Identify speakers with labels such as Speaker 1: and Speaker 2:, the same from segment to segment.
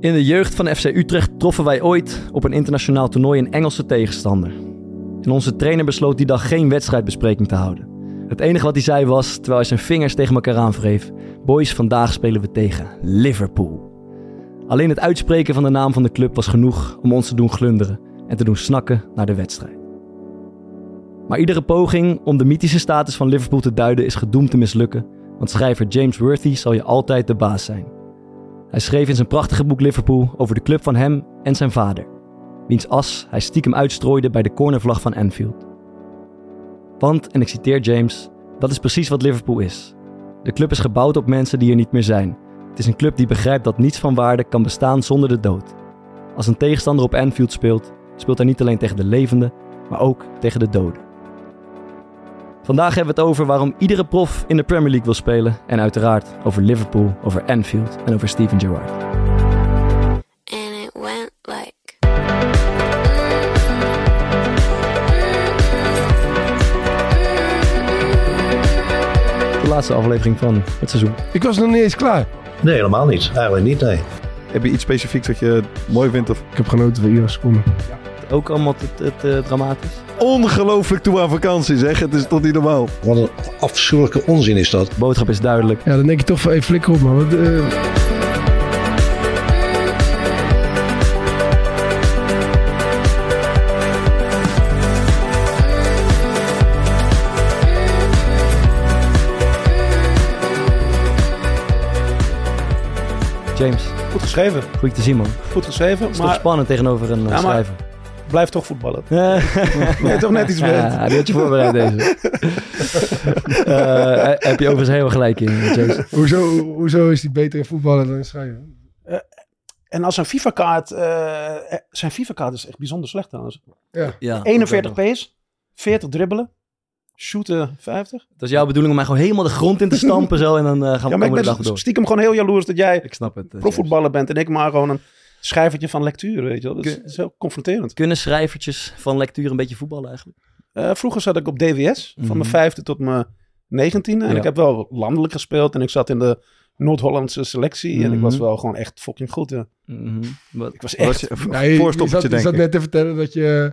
Speaker 1: In de jeugd van FC Utrecht troffen wij ooit op een internationaal toernooi een Engelse tegenstander. En onze trainer besloot die dag geen wedstrijdbespreking te houden. Het enige wat hij zei was, terwijl hij zijn vingers tegen elkaar aanwreef: Boys, vandaag spelen we tegen Liverpool. Alleen het uitspreken van de naam van de club was genoeg om ons te doen glunderen en te doen snakken naar de wedstrijd. Maar iedere poging om de mythische status van Liverpool te duiden is gedoemd te mislukken, want schrijver James Worthy zal je altijd de baas zijn. Hij schreef in zijn prachtige boek Liverpool over de club van hem en zijn vader, wiens as hij stiekem uitstrooide bij de cornervlag van Anfield. Want, en ik citeer James, dat is precies wat Liverpool is. De club is gebouwd op mensen die er niet meer zijn. Het is een club die begrijpt dat niets van waarde kan bestaan zonder de dood. Als een tegenstander op Anfield speelt, speelt hij niet alleen tegen de levenden, maar ook tegen de doden. Vandaag hebben we het over waarom iedere prof in de Premier League wil spelen. En uiteraard over Liverpool, over Anfield en over Steven Gerrard.
Speaker 2: and it went like
Speaker 1: De laatste aflevering van het seizoen.
Speaker 3: Ik was nog niet eens klaar.
Speaker 4: Nee, helemaal niet. Eigenlijk niet, nee.
Speaker 5: Heb je iets specifieks dat je mooi vindt? Of...
Speaker 3: Ik heb genoten van iedere seconde.
Speaker 1: Ook allemaal het, het, eh, dramatisch.
Speaker 5: Ongelooflijk toe aan vakantie zeg. Het is toch niet normaal.
Speaker 4: Wat een afschuwelijke onzin is dat.
Speaker 1: De boodschap is duidelijk.
Speaker 3: Ja, dan denk je toch van, hey, flikker op man. Wat, eh,
Speaker 1: James,
Speaker 6: Goed geschreven.
Speaker 1: goed je te zien man. Het
Speaker 6: Goed geschreven.
Speaker 1: is toch
Speaker 6: Maar
Speaker 1: spannend tegenover een eh,
Speaker 6: maar-
Speaker 1: schrijver.
Speaker 6: blijf toch voetballen.
Speaker 1: Ja,
Speaker 3: toch net iets beter.
Speaker 1: die had je voorbereid deze. Eh, heb je overigens heel gelijk in, James.
Speaker 3: hoezo, hoezo is die beter in voetballen dan in schrijven?
Speaker 6: En als zijn FIFA-kaart... eh, eh, zijn FIFA-kaart is echt bijzonder slecht trouwens.
Speaker 1: Ja,
Speaker 6: 41 pace, 40 dribbelen, shooten 50.
Speaker 1: Dat is jouw bedoeling om mij gewoon helemaal de grond in te stampen zo. En dan eh, gaan
Speaker 6: Ja,
Speaker 1: we
Speaker 6: maar ik
Speaker 1: de
Speaker 6: ben
Speaker 1: dag door.
Speaker 6: stiekem gewoon heel jaloers dat jij
Speaker 1: Ik snap het. eh, James.
Speaker 6: profvoetballer bent en ik maar gewoon een schrijvertje van lectuur, weet je wel. Dat is,
Speaker 1: Kun-
Speaker 6: dat is heel confronterend.
Speaker 1: Kunnen schrijvertjes van lectuur een beetje voetballen eigenlijk?
Speaker 6: Eh, vroeger zat ik op DWS, van
Speaker 1: Mhm.
Speaker 6: mijn vijfde tot mijn negentiende. En
Speaker 1: Ja.
Speaker 6: ik heb wel landelijk gespeeld en ik zat in de Noord-Hollandse selectie. En ik was wel gewoon echt fucking goed. ja.
Speaker 1: Mhm. Wat?
Speaker 6: Ik was
Speaker 5: Dat
Speaker 6: echt...
Speaker 5: je,
Speaker 3: Ja, je, je zat, je
Speaker 5: voorstoppertje denk
Speaker 3: zat
Speaker 5: ik.
Speaker 3: net te vertellen dat je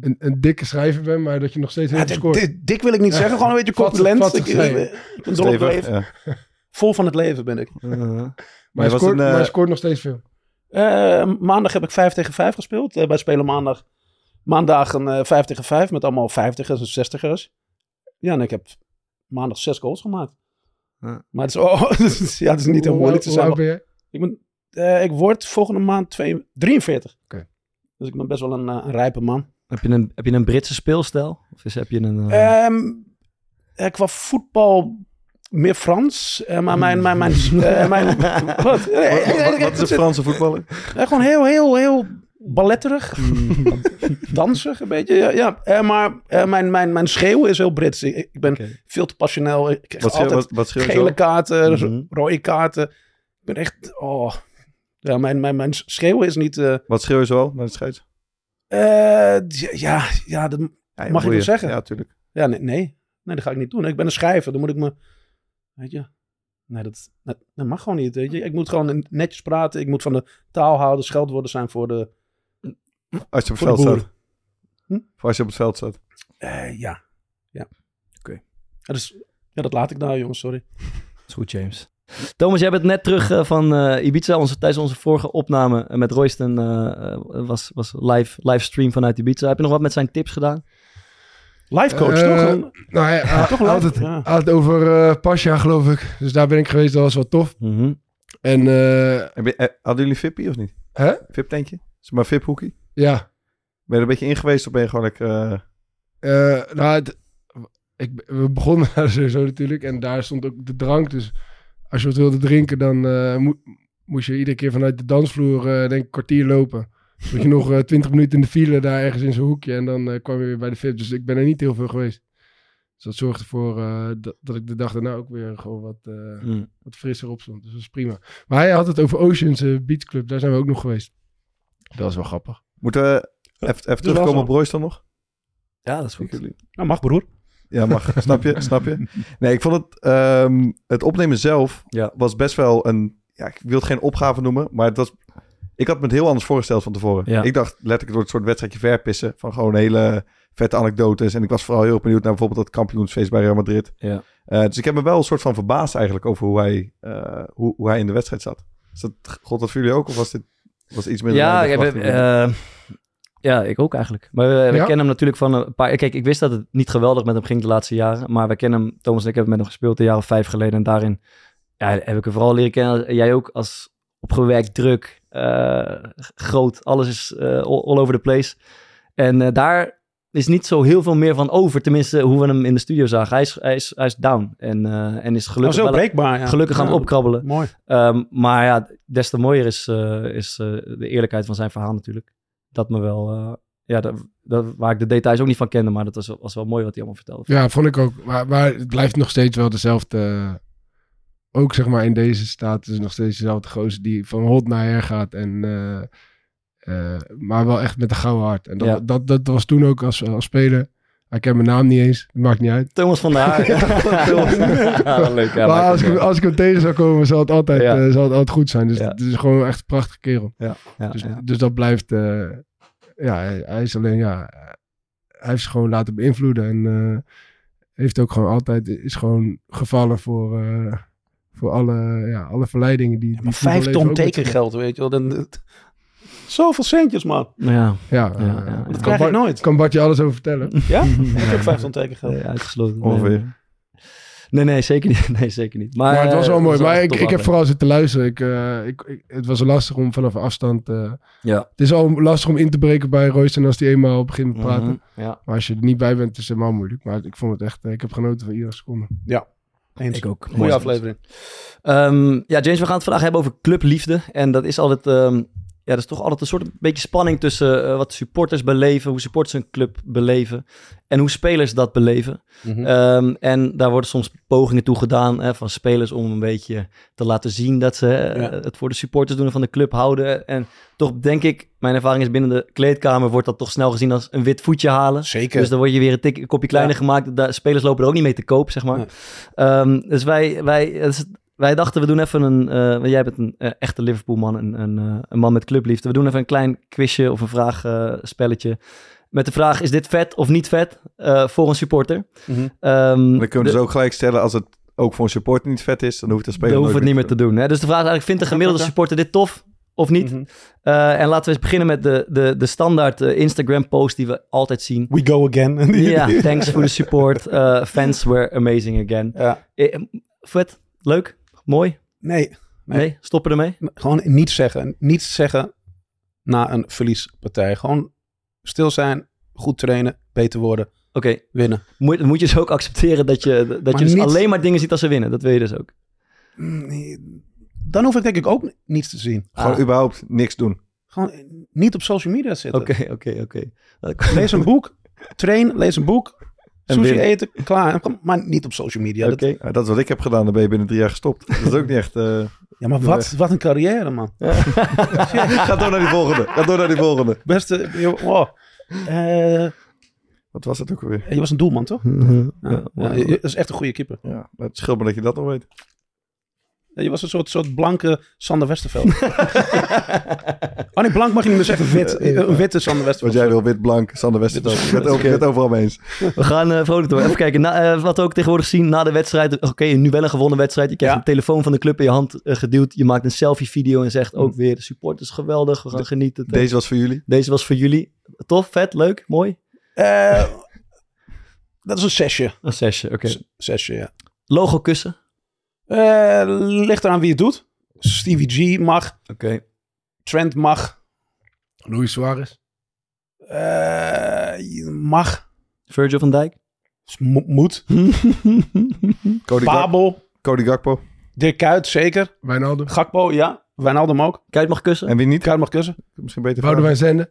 Speaker 3: een, een dikke schrijver bent, maar dat je nog steeds heel
Speaker 6: Ja,
Speaker 3: veel
Speaker 6: dit-
Speaker 3: scoort.
Speaker 6: dit- dik wil ik niet
Speaker 3: Ja.
Speaker 6: zeggen, gewoon een beetje
Speaker 3: Vat-
Speaker 6: corpulent.
Speaker 3: vatzig
Speaker 6: Ik- ik-
Speaker 3: zijn.
Speaker 6: ik ben dol op het
Speaker 5: Stevig,
Speaker 6: leven.
Speaker 5: ja.
Speaker 6: Vol van het leven ben ik.
Speaker 1: Eh,
Speaker 3: Maar
Speaker 5: je
Speaker 3: je,
Speaker 5: was
Speaker 3: scoort,
Speaker 5: een, eh,
Speaker 3: maar je scoort nog steeds veel.
Speaker 6: Eh, maandag heb ik 5 tegen 5 gespeeld. Eh, wij spelen maandag, maandag een eh 5 tegen 5 met allemaal 50ers en 60ers. Ja, en ik heb maandag 6 goals gemaakt.
Speaker 1: Ja.
Speaker 6: Maar het is, oh, het is- ja, het is niet heel
Speaker 3: Hoe-
Speaker 6: moeilijk te
Speaker 3: hoe oud
Speaker 6: zijn.
Speaker 3: ben jij?
Speaker 6: Ik, ben, eh, ik word volgende maand twee- 43.
Speaker 3: Oké.
Speaker 6: Dus ik ben best wel een, eh, een rijpe man.
Speaker 1: heb, je een, heb je een Britse speelstijl? Of is, heb je een... eh,
Speaker 6: Ehm, eh, qua voetbal meer Frans. eh, maar mijn... mijn, mijn, eh, mijn wat? Nee,
Speaker 5: Wat-
Speaker 6: nee, nee,
Speaker 5: Wat, wat is een Franse voetballer?
Speaker 6: Ja, Eh, gewoon heel, heel, heel balletterig.
Speaker 5: Mm.
Speaker 6: Dansig een beetje. Ja, ja. Eh, maar eh, mijn, mijn, mijn schreeuw is heel Brits. Ik, ik ben
Speaker 1: Oké.
Speaker 6: veel te passioneel. Ik krijg
Speaker 5: Wat, schreeuw-
Speaker 6: altijd
Speaker 5: wat, wat schreeuw je
Speaker 6: gele
Speaker 5: zo? Mm-hmm.
Speaker 6: kaarten, ro-
Speaker 1: Mhm.
Speaker 6: rode kaarten. Ik ben echt... Oh. Ja, mijn, mijn, mijn schreeuw is niet... eh,
Speaker 5: Wat schreeuw je zo al naar de scheids?
Speaker 6: eh, ja, ja, dat,
Speaker 5: Ja,
Speaker 6: Mag ik
Speaker 5: je.
Speaker 6: dat zeggen?
Speaker 5: Ja, tuurlijk.
Speaker 6: ja nee, nee. Nee, dat ga ik niet doen. Ik ben een schrijver. Dan moet ik me... Weet je... Nee, dat, dat, dat mag gewoon niet. Weet je. Ik moet gewoon netjes praten. Ik moet van de taal houden. Scheldwoorden zijn voor de,
Speaker 5: Als je op het
Speaker 6: voor de
Speaker 5: veld
Speaker 6: boeren.
Speaker 5: staat. Of als je op het veld staat.
Speaker 6: Eh, ja. Ja.
Speaker 1: Oké.
Speaker 6: Ja, dus, ja, dat laat ik nou, jongens, sorry.
Speaker 1: is goed, James. Thomas, jij bent net terug eh, van eh, Ibiza. Onze, tijdens onze vorige opname eh, met Royston eh, eh, was, was live, livestream vanuit Ibiza. Heb je nog wat met zijn tips gedaan?
Speaker 6: Life coach,
Speaker 3: Eh,
Speaker 6: toch? Gewoon-
Speaker 3: Nou, hij, hij-
Speaker 6: toch
Speaker 3: hij had
Speaker 6: leuk,
Speaker 3: het,
Speaker 6: ja.
Speaker 3: hij had het over eh Pasja, geloof ik. Dus daar ben ik geweest, dat was wel tof.
Speaker 1: Mhm.
Speaker 3: En eh,
Speaker 5: Heb je- eh, Hadden jullie vippie of niet?
Speaker 3: Hè?
Speaker 5: Vip-tentje? Is het maar vip-hoekie?
Speaker 3: ja,
Speaker 5: Ben je er een beetje in geweest of ben je gewoon lekker... eh,
Speaker 3: Eh, nou, het- ik, we begonnen daar sowieso natuurlijk. En daar stond ook de drank. Dus als je wat wilde drinken, dan eh, mo- moest je iedere keer vanuit de dansvloer eh, denk ik, een kwartier lopen. Zodat je nog eh, twintig minuten in de file daar ergens in zo'n hoekje. En dan eh, kwam je weer bij de VIP. Dus ik ben er niet heel veel geweest. Dus dat zorgde ervoor eh, dat, dat ik de dag daarna ook weer gewoon wat, eh,
Speaker 1: Mm.
Speaker 3: wat frisser opstond. Dus dat is prima. Maar hij had het over Oceans eh, Beach Club. Daar zijn we ook nog geweest. Dat is wel grappig.
Speaker 5: Moeten we even, even terugkomen op Royce dan nog?
Speaker 1: Ja, dat is goed.
Speaker 6: Nou, mag, broer.
Speaker 5: Ja, mag. snap je? Snap je? Nee, ik vond het... ehm, het opnemen zelf
Speaker 1: Ja.
Speaker 5: was best wel een ja, ik wil het geen opgave noemen, maar het was, ik had me het heel anders voorgesteld van tevoren.
Speaker 1: Ja.
Speaker 5: Ik dacht letterlijk door het soort wedstrijdje verpissen van gewoon hele vette anekdotes. En ik was vooral heel erg benieuwd naar bijvoorbeeld dat kampioensfeest bij Real Madrid.
Speaker 1: Ja.
Speaker 5: Eh, dus ik heb me wel een soort van verbaasd eigenlijk over hoe hij, eh, hoe, hoe hij in de wedstrijd zat. Is dat, god dat voor jullie ook? Of was dit was iets minder?
Speaker 1: Ja,
Speaker 6: nou
Speaker 5: dan
Speaker 1: ik,
Speaker 5: ik
Speaker 1: heb,
Speaker 5: verwacht?
Speaker 1: eh, ja, ik ook eigenlijk. Maar we, we
Speaker 3: Ja?
Speaker 1: kennen hem natuurlijk van een paar... Kijk, ik wist dat het niet geweldig met hem ging de laatste jaren. Maar we kennen hem, Thomas en ik hebben met hem gespeeld een jaar of vijf geleden. En daarin ja, heb ik hem vooral leren kennen. en Jij ook als opgewerkt, druk, eh, groot. Alles is eh, all all over the place. En eh, daar is niet zo heel veel meer van over. Tenminste, hoe we hem in de studio zagen. Hij is, hij is, hij is down. En, eh, en is
Speaker 6: Nou,
Speaker 1: gelukkig,
Speaker 6: zo
Speaker 1: wel-
Speaker 6: breekbaar. Ja.
Speaker 1: gelukkig aan
Speaker 6: Ja,
Speaker 1: het opkrabbelen.
Speaker 6: Mooi.
Speaker 1: Ehm, maar ja, des te mooier is, eh, is eh, de eerlijkheid van zijn verhaal natuurlijk. Dat me wel, eh, ja, dat, dat- waar ik de details ook niet van kende, maar dat was, wel- was wel mooi wat hij allemaal vertelde.
Speaker 3: Ja, vond ik ook. Maar, maar het blijft nog steeds wel dezelfde. eh, Ook zeg maar in deze staat is nog steeds dezelfde gozer die van hot naar her gaat. En, eh, eh, maar wel echt met een gouden hart. En dat,
Speaker 1: Ja.
Speaker 3: dat, dat was toen ook als, als speler. Hij kent mijn naam niet eens. Maakt niet uit.
Speaker 1: Thomas van der Haar. ja, leuk. Ja,
Speaker 3: maar
Speaker 1: maakt
Speaker 3: als
Speaker 1: ook
Speaker 3: ik,
Speaker 1: wel.
Speaker 3: als ik hem tegen zou komen, zal het altijd,
Speaker 1: Ja.
Speaker 3: eh, zal het altijd goed zijn. Dus
Speaker 1: Ja.
Speaker 3: het is gewoon echt een prachtige kerel.
Speaker 1: Ja,
Speaker 3: Dus,
Speaker 1: ja.
Speaker 3: dus dat blijft. eh, ja, hij, hij is alleen. Ja, hij heeft zich gewoon laten beïnvloeden. En eh, heeft ook gewoon altijd. Is gewoon gevallen voor. eh, voor alle, ja, alle verleidingen die. die
Speaker 6: Maar vijf
Speaker 3: voetballeven
Speaker 6: ton
Speaker 3: ook met zich-
Speaker 6: tekengeld, weet je wel. Dan, zoveel centjes, man.
Speaker 1: Ja,
Speaker 3: Ja,
Speaker 1: Ja, ja,
Speaker 3: eh,
Speaker 1: ja.
Speaker 3: kan
Speaker 1: Dat
Speaker 6: krijg ik
Speaker 3: Bart-
Speaker 6: nooit.
Speaker 3: Kan Bart je alles over vertellen?
Speaker 6: Ja? Ik heb vijf ton tekengeld.
Speaker 1: eh, uitgesloten. Nee.
Speaker 5: Ongeveer.
Speaker 1: Nee, nee, zeker niet. Nee, zeker niet. Maar,
Speaker 3: Maar het was
Speaker 1: eh,
Speaker 3: wel mooi.
Speaker 1: echt
Speaker 3: Maar
Speaker 1: een
Speaker 3: ik, ik heb
Speaker 1: topaflevering.
Speaker 3: vooral zitten luisteren. Ik, eh, ik, ik- het was lastig om vanaf afstand... eh,
Speaker 1: Ja.
Speaker 3: Het is al lastig om in te breken bij Royston als die eenmaal begint te praten.
Speaker 1: Mhm, Ja,
Speaker 3: Maar als je er niet bij bent, is het helemaal moeilijk. Maar ik vond het echt... eh, ik heb genoten van iedere seconde.
Speaker 6: Eens.
Speaker 1: ik ook.
Speaker 6: Goeie aflevering.
Speaker 1: Ehm, ja, James, we gaan het vandaag hebben over clubliefde. En dat is altijd, ehm, ja, dat is toch altijd een soort een beetje spanning tussen eh, wat supporters beleven, hoe supporters hun club beleven en hoe spelers dat beleven.
Speaker 6: Mhm.
Speaker 1: Ehm, en daar worden soms pogingen toe gedaan hè, van spelers om een beetje te laten zien dat ze hè,
Speaker 6: Ja.
Speaker 1: het voor de supporters doen en van de club houden. En toch denk ik, mijn ervaring is binnen de kleedkamer wordt dat toch snel gezien als een wit voetje halen.
Speaker 6: Zeker.
Speaker 1: Dus dan word je weer een, tik, een kopje kleiner gemaakt. Daar, spelers lopen er ook niet mee te koop, zeg maar.
Speaker 6: Nee.
Speaker 1: Ehm, dus wij, wij, het is- wij dachten, we doen even een... eh, want jij bent een eh, echte Liverpool-man, een, een, eh, een man met clubliefde. We doen even een klein quizje of een vraagspelletje. met de vraag, is dit vet of niet vet eh, voor een supporter?
Speaker 6: Mhm.
Speaker 1: Ehm,
Speaker 5: Dan kunnen we dus ook gelijk stellen als het ook voor een supporter niet vet is, dan hoeft de speler
Speaker 1: dan hoeven
Speaker 5: nooit
Speaker 1: we het niet meer
Speaker 5: te
Speaker 1: te doen. Hè? Dus de vraag is eigenlijk, vindt de gemiddelde supporter dit tof of niet?
Speaker 6: Mhm.
Speaker 1: Eh, en laten we eens beginnen met de, de, de standaard eh, Instagram-post die we altijd zien.
Speaker 6: We go again.
Speaker 1: Ja, thanks for the support. Eh, fans were amazing again.
Speaker 6: Ja.
Speaker 1: Eh, eh, vet, leuk, mooi.
Speaker 6: Nee,
Speaker 1: Nee, stoppen ermee.
Speaker 6: gewoon niets zeggen. Niets zeggen na een verliespartij. Gewoon stil zijn, goed trainen, beter worden,
Speaker 1: Oké,
Speaker 6: winnen.
Speaker 1: moet, moet je dus ook accepteren dat je, dat
Speaker 6: Maar
Speaker 1: je dus
Speaker 6: niet-
Speaker 1: alleen maar dingen ziet als ze winnen. Dat wil je dus ook.
Speaker 6: Nee, Dan hoef ik denk ik ook niets te zien.
Speaker 5: doen. Gewoon
Speaker 1: Ah.
Speaker 5: überhaupt niks doen.
Speaker 6: Gewoon niet op social media zitten.
Speaker 1: Oké, oké, oké.
Speaker 6: Lees een boek, train, lees een boek,
Speaker 1: En
Speaker 6: sushi
Speaker 1: winnen.
Speaker 6: eten, klaar. Maar niet op social media. Dat-
Speaker 1: Oké.
Speaker 5: Ja, dat is wat ik heb gedaan, dan ben je binnen drie jaar gestopt. Dat is ook niet echt... eh,
Speaker 6: ja, maar wat, wat een carrière, man.
Speaker 5: Ga door naar die volgende. Ga door naar die volgende.
Speaker 6: Beste, joh, oh. Eh,
Speaker 5: Wat was dat ook alweer?
Speaker 6: je was een doelman, toch? Ja,
Speaker 1: Ja,
Speaker 6: ja, je- dat is echt een goede keeper.
Speaker 5: Ja, het scheelt me dat je dat nog weet.
Speaker 6: Ja, Je was een soort, soort blanke Sander Westerveld. oh nee, blank mag je niet meer zeggen. Wit. Eh, Een witte Sander
Speaker 5: Wat
Speaker 6: Westerveld.
Speaker 5: jij wil, wit, blank, Sander Westerveld. Ik ben het ook- ik ben het overal mee eens.
Speaker 1: We gaan eh, vrolijk door. Even kijken. Na, eh, wat we ook tegenwoordig zien na de wedstrijd. Oké, nu wel een gewonnen wedstrijd. Je krijgt
Speaker 6: Ja.
Speaker 1: een telefoon van de club in je hand eh, geduwd. Je maakt een selfie-video en zegt
Speaker 6: Mm.
Speaker 1: ook weer: de support is geweldig. We gaan genieten.
Speaker 5: Deze was voor jullie.
Speaker 1: Deze was voor jullie. Tof, vet, leuk, mooi.
Speaker 6: Eh, dat is een zesje.
Speaker 1: Een zesje, oké.
Speaker 6: S- Zesje, ja.
Speaker 1: Logo kussen.
Speaker 6: Eh, ligt eraan wie het doet. Stevie G mag.
Speaker 1: Oké.
Speaker 6: Trent mag.
Speaker 3: Luis Suarez.
Speaker 6: Eh, mag.
Speaker 1: Virgil van Dijk.
Speaker 6: S- mo- moet.
Speaker 5: Cody, Gak-
Speaker 6: Babel.
Speaker 5: Cody Gakpo.
Speaker 6: Dirk Kuyt, zeker.
Speaker 3: Wijnaldum.
Speaker 6: Gakpo, ja. Wijnaldum ook.
Speaker 1: Kijk, mag kussen.
Speaker 5: En wie niet?
Speaker 6: Kuyt mag kussen.
Speaker 5: Misschien beter
Speaker 3: Boudewijn Zenden.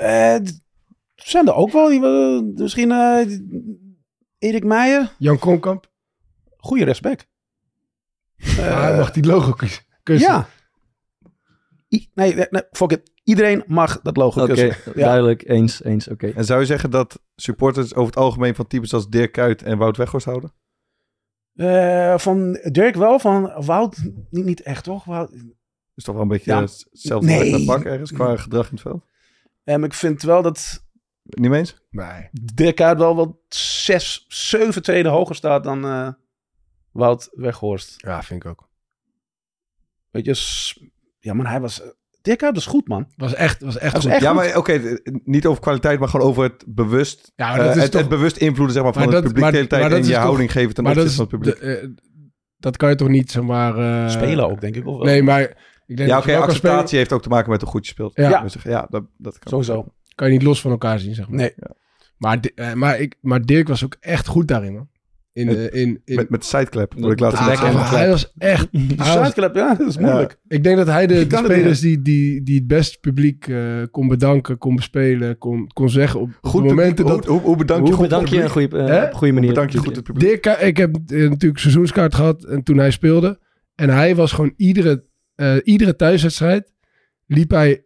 Speaker 6: Eh, d- zijn er ook wel. die we- misschien eh, Erik Meijer.
Speaker 3: Jan Kronkamp.
Speaker 6: Goede respect. Eh,
Speaker 3: Ah, hij mag die logo kus- kussen.
Speaker 6: Ja. I- nee, nee, nee, fuck it. Iedereen mag dat logo
Speaker 1: Oké,
Speaker 6: kussen. Ja.
Speaker 1: duidelijk. Eens, eens. Oké.
Speaker 5: En zou je zeggen dat supporters over het algemeen van types als Dirk Kuyt en Wout Weghorst houden?
Speaker 6: Eh, van Dirk wel, van Wout niet, niet echt, toch? Wout,
Speaker 5: Is toch wel een beetje
Speaker 6: Ja.
Speaker 5: eh, hetzelfde
Speaker 6: Nee.
Speaker 5: soort pak ergens qua gedrag in het veld?
Speaker 6: Ehm, ik vind wel dat
Speaker 5: Niet mee eens?
Speaker 3: Nee.
Speaker 6: Dirk Kuyt wel wat zes, zeven treden hoger staat dan eh, Wout Weghorst.
Speaker 3: Ja, vind ik ook.
Speaker 6: Weet je, s- ja, maar hij was... eh, Dirk Kuyt was goed, man.
Speaker 3: Was echt, was echt
Speaker 6: Dat is
Speaker 3: goed.
Speaker 6: echt
Speaker 5: ja,
Speaker 6: goed.
Speaker 5: maar oké, eh, niet over kwaliteit, maar gewoon over het bewust,
Speaker 3: Ja, maar dat
Speaker 5: eh,
Speaker 3: is
Speaker 5: het,
Speaker 3: toch-
Speaker 5: het bewust invloeden zeg maar, van
Speaker 3: Maar
Speaker 5: het
Speaker 3: dat-
Speaker 5: publiek
Speaker 3: maar-
Speaker 5: de hele tijd
Speaker 3: maar dat
Speaker 5: en
Speaker 3: is
Speaker 5: je
Speaker 3: toch-
Speaker 5: houding geven ten
Speaker 3: maar dat
Speaker 5: opzichte
Speaker 3: is
Speaker 5: van het
Speaker 3: de,
Speaker 5: publiek.
Speaker 3: eh, dat kan je toch niet zomaar... eh,
Speaker 6: Spelen ook, denk ik. Of wel?
Speaker 3: Nee, maar ik denk
Speaker 5: ja,
Speaker 3: dat
Speaker 5: oké,
Speaker 3: je wel kan spelen,
Speaker 5: acceptatie heeft ook te maken met hoe goed je speelt.
Speaker 3: Ja.
Speaker 5: Ja, ja dat, dat kan.
Speaker 6: Sowieso.
Speaker 3: kan je niet los van elkaar zien, zeg maar.
Speaker 6: Nee.
Speaker 3: Maar, Di- eh, maar, ik, maar Dirk was ook echt goed daarin, man. In,
Speaker 5: Het-
Speaker 3: eh, in, in,
Speaker 5: Met, met de sideclap, wat ik laatst
Speaker 3: Ah,
Speaker 5: ah,
Speaker 3: maar hij was echt...
Speaker 6: De
Speaker 3: hij was-
Speaker 6: Zuidklep, ja, Ah, dat is moeilijk.
Speaker 3: ik denk dat hij de,
Speaker 5: Je
Speaker 3: de
Speaker 5: kan het
Speaker 3: spelers die, die, die het best publiek eh, kon bedanken, kon bespelen, kon, kon zeggen op, op
Speaker 5: Goed
Speaker 3: de momenten
Speaker 5: momenten
Speaker 3: dat...
Speaker 5: hoe, hoe bedank je
Speaker 1: Hoe
Speaker 5: goed
Speaker 1: bedank je een
Speaker 5: publiek?
Speaker 1: goede,
Speaker 3: Hè?
Speaker 1: eh, op goede
Speaker 5: Hoe
Speaker 1: manier?
Speaker 5: bedank je goed het publiek?
Speaker 3: Dirk, Kuyt- ik heb eh, natuurlijk seizoenskaart gehad en toen hij speelde. En hij was gewoon iedere, eh, iedere thuiswedstrijd liep hij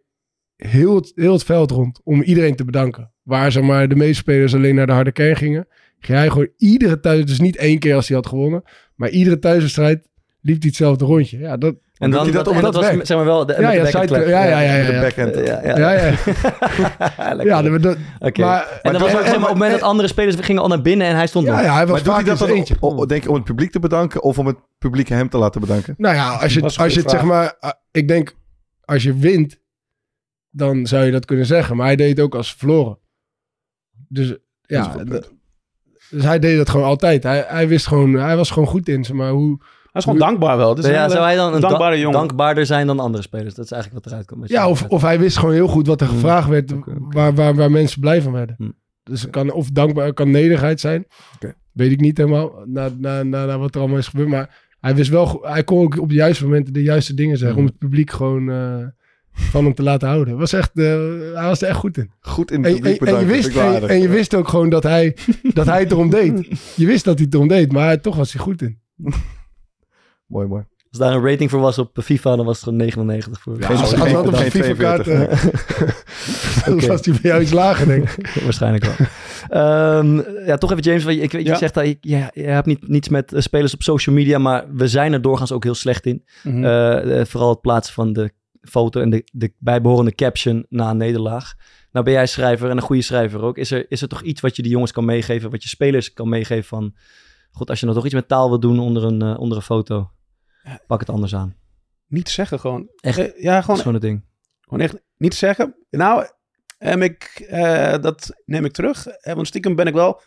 Speaker 3: heel het, heel het veld rond om iedereen te bedanken. Waar zeg maar, de meeste spelers alleen naar de harde kern gingen, ging hij gewoon iedere thuis, dus niet één keer als hij had gewonnen, maar iedere thuiswedstrijd liep hij hetzelfde rondje. Ja, dat,
Speaker 1: En
Speaker 5: Doet
Speaker 1: dan,
Speaker 5: hij dat
Speaker 1: dat,
Speaker 5: op-
Speaker 1: en dat
Speaker 3: dat
Speaker 1: was
Speaker 3: werkt?
Speaker 1: zeg maar wel de,
Speaker 3: ja,
Speaker 1: met de
Speaker 3: ja,
Speaker 1: backhand
Speaker 3: side-
Speaker 1: clap.
Speaker 3: ja, ja, ja, ja,
Speaker 5: Met de
Speaker 3: ja.
Speaker 5: backhand.
Speaker 1: Ja, ja.
Speaker 3: Ja, ja.
Speaker 1: Lekker.
Speaker 3: Ja, dat- dat-
Speaker 1: Oké.
Speaker 3: maar,
Speaker 1: En dat was ook, zeg maar, op het moment dat andere spelers gingen al naar binnen en hij stond
Speaker 3: ja,
Speaker 1: nog.
Speaker 3: ja, hij was
Speaker 5: Maar doet hij
Speaker 3: vaak in
Speaker 5: dat
Speaker 3: zijn
Speaker 5: dan
Speaker 3: eentje.
Speaker 5: om- om- denk je, om het publiek te bedanken of om het publiek hem te laten bedanken?
Speaker 3: Nou ja, als je,
Speaker 6: Dat is een
Speaker 3: als je het
Speaker 6: goede
Speaker 3: zeg maar... ah, Ik denk, als je wint, dan zou je dat kunnen zeggen. Maar hij deed het ook als ze verloren. Dus
Speaker 5: is
Speaker 3: ja,
Speaker 5: een goed
Speaker 3: d- dus hij deed dat gewoon altijd. Hij, hij wist gewoon, hij was gewoon goed in. Zeg maar hoe,
Speaker 6: Hij is gewoon dankbaar wel. Dus
Speaker 1: Ja, zou hij dan een da-
Speaker 6: dankbare jongen.
Speaker 1: dankbaarder zijn dan andere spelers? Dat is eigenlijk wat eruit komt. wat je
Speaker 3: ja, of,
Speaker 1: zegt.
Speaker 3: of hij wist gewoon heel goed wat er
Speaker 1: Hmm.
Speaker 3: gevraagd werd,
Speaker 5: Mm. Oké, oké.
Speaker 3: Waar, waar, waar mensen blij van werden.
Speaker 1: Hmm.
Speaker 3: Dus het kan of dankbaar, kan nederigheid zijn.
Speaker 5: Oké.
Speaker 3: Weet ik niet helemaal, na, na, na, na wat er allemaal is gebeurd. Maar hij wist wel, go- hij kon ook op de juiste momenten de juiste dingen zeggen.
Speaker 5: Mm.
Speaker 1: Hmm.
Speaker 3: Om het publiek gewoon eh, van hem te laten houden. Was echt, eh, hij was er echt goed in.
Speaker 5: Goed in het
Speaker 3: En, en-
Speaker 5: publiek
Speaker 3: en je
Speaker 5: bedanken.
Speaker 3: wist,
Speaker 5: vind ik wel
Speaker 3: en,
Speaker 5: aardig.
Speaker 3: en je wist ook gewoon dat hij, dat hij het erom deed. Je wist dat hij het erom deed, maar toch was hij goed in.
Speaker 5: Mooi, mooi.
Speaker 1: Als daar een rating voor was op FIFA, dan was het gewoon 99 voor.
Speaker 5: Geen-
Speaker 3: als
Speaker 5: Oh, geen-
Speaker 3: als dat op een
Speaker 5: geen
Speaker 3: FIFA-kaart... eh,
Speaker 5: 42, Oké.
Speaker 3: was hij bij jou iets lager, denk ik.
Speaker 1: Waarschijnlijk wel. Ehm, ja, toch even James, want je, ik, weet- je
Speaker 6: Ja.
Speaker 1: zegt dat je, je, je hebt niet, niets met eh, spelers op social media, maar we zijn er doorgaans ook heel slecht in.
Speaker 6: Mhm.
Speaker 1: Eh, eh, vooral het plaatsen van de foto en de, de bijbehorende caption na een nederlaag. Nou ben jij schrijver en een goede schrijver ook. Is er, is er toch iets wat je die jongens kan meegeven, wat je spelers kan meegeven van... God, als je nou toch iets met taal wil doen onder een, eh, onder een foto, pak het anders aan.
Speaker 6: Niet zeggen gewoon.
Speaker 1: Echt?
Speaker 6: Eh, Ja,
Speaker 1: Dat
Speaker 6: gewoon,
Speaker 1: is gewoon het ding.
Speaker 6: gewoon echt niet zeggen. Nou, ehm, ik, eh, dat neem ik terug. Eh, want stiekem ben ik wel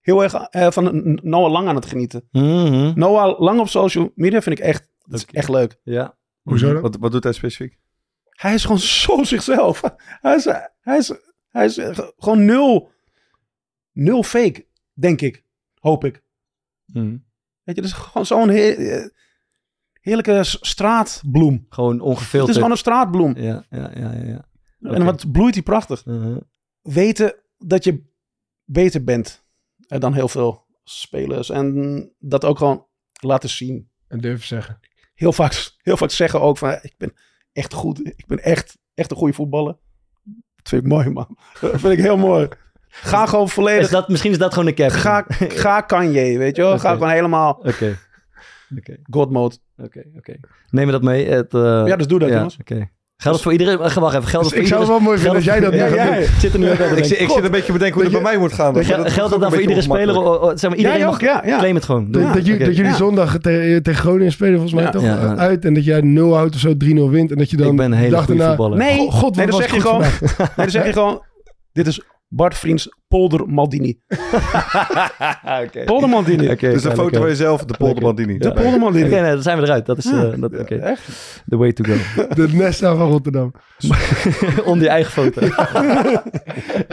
Speaker 6: heel erg eh, van N- Noah Lang aan het genieten.
Speaker 1: Mhm.
Speaker 6: Noah Lang op social media vind ik echt, dat is echt leuk.
Speaker 1: Ja.
Speaker 3: Hoezo dan?
Speaker 5: Wat, wat doet hij specifiek?
Speaker 6: Hij is gewoon zo zichzelf. Hij is, hij is, hij is eh, gewoon nul, nul fake, denk ik. Hoop ik.
Speaker 1: Mhm.
Speaker 6: Weet je, dat is gewoon zo'n heer- eh, heerlijke s- straatbloem.
Speaker 1: Gewoon
Speaker 6: Het is
Speaker 1: ongefilterd.
Speaker 6: gewoon een straatbloem.
Speaker 1: Ja, ja, ja, ja. ja. Oké.
Speaker 6: En wat bloeit die prachtig.
Speaker 1: Mhm.
Speaker 6: Weten dat je beter bent eh, dan heel veel spelers. En dat ook gewoon laten zien.
Speaker 3: En durf zeggen.
Speaker 6: Heel vaak, heel vaak zeggen ook van, ik ben echt goed. Ik ben echt, echt een goede voetballer. Dat vind ik mooi, man. Dat vind ik heel mooi. Ga gewoon
Speaker 1: Is
Speaker 6: volledig...
Speaker 1: dat, misschien is dat gewoon een caption.
Speaker 6: Ga, ga Kanye, weet je wel. Ga
Speaker 1: Oké.
Speaker 6: gewoon helemaal
Speaker 1: Oké. Oké,
Speaker 6: God mode.
Speaker 1: oké, oké. Neem me dat mee. Het, eh,
Speaker 6: Ja, dus doe dat, jongens.
Speaker 1: Oké. Geldt dat voor iedereen? Wacht even. Geldt dat
Speaker 3: Dus ik
Speaker 1: voor
Speaker 3: zou het
Speaker 1: iedere...
Speaker 3: wel mooi vinden als jij dat
Speaker 1: Ja,
Speaker 3: nu gaat
Speaker 1: ja,
Speaker 3: doen.
Speaker 1: ja. Ik zit er nu ook aan te
Speaker 5: Ik,
Speaker 1: denken.
Speaker 5: zit- ik zit een beetje te bedenken hoe het bij mij moet gaan.
Speaker 1: Gel-
Speaker 5: maar dat is
Speaker 1: Geldt
Speaker 5: ook
Speaker 1: dat dan
Speaker 5: een
Speaker 1: voor iedere
Speaker 5: beetje
Speaker 1: speler?
Speaker 5: ongemakkelijk.
Speaker 1: O- o- Zeg maar, iedereen
Speaker 6: Jij ook,
Speaker 1: mag...
Speaker 6: ja, ja.
Speaker 1: Claim het gewoon. Doe
Speaker 3: Dat,
Speaker 1: het.
Speaker 3: dat jullie,
Speaker 1: Oké.
Speaker 3: dat jullie
Speaker 6: Ja.
Speaker 3: zondag te- tegen Groningen spelen, volgens mij
Speaker 6: Ja.
Speaker 3: toch
Speaker 1: Ja, ja.
Speaker 3: uit. En dat jij 0 houdt of zo, 3-0 wint. En dat je dan
Speaker 1: Ik ben een hele
Speaker 3: dag
Speaker 1: goede
Speaker 3: daarna-
Speaker 1: voetballer.
Speaker 6: Nee,
Speaker 3: Oh, God,
Speaker 6: nee,
Speaker 3: wat was
Speaker 6: dan zeg je
Speaker 3: goed
Speaker 6: gewoon, nee, dan zeg je gewoon, dit is Bart Vriends Polder Maldini.
Speaker 1: Oké.
Speaker 6: Polder Maldini.
Speaker 1: Oké,
Speaker 5: Ah, Dus een
Speaker 1: ja,
Speaker 5: foto
Speaker 1: lekker.
Speaker 5: van jezelf, de polderbandini.
Speaker 1: Ja.
Speaker 6: Polder Maldini.
Speaker 1: Oké, nee, dan zijn we eruit. Dat is eh, dat, oké.
Speaker 6: Echt?
Speaker 1: the way to go.
Speaker 3: De Nesta van Rotterdam.
Speaker 1: Onder je eigen foto.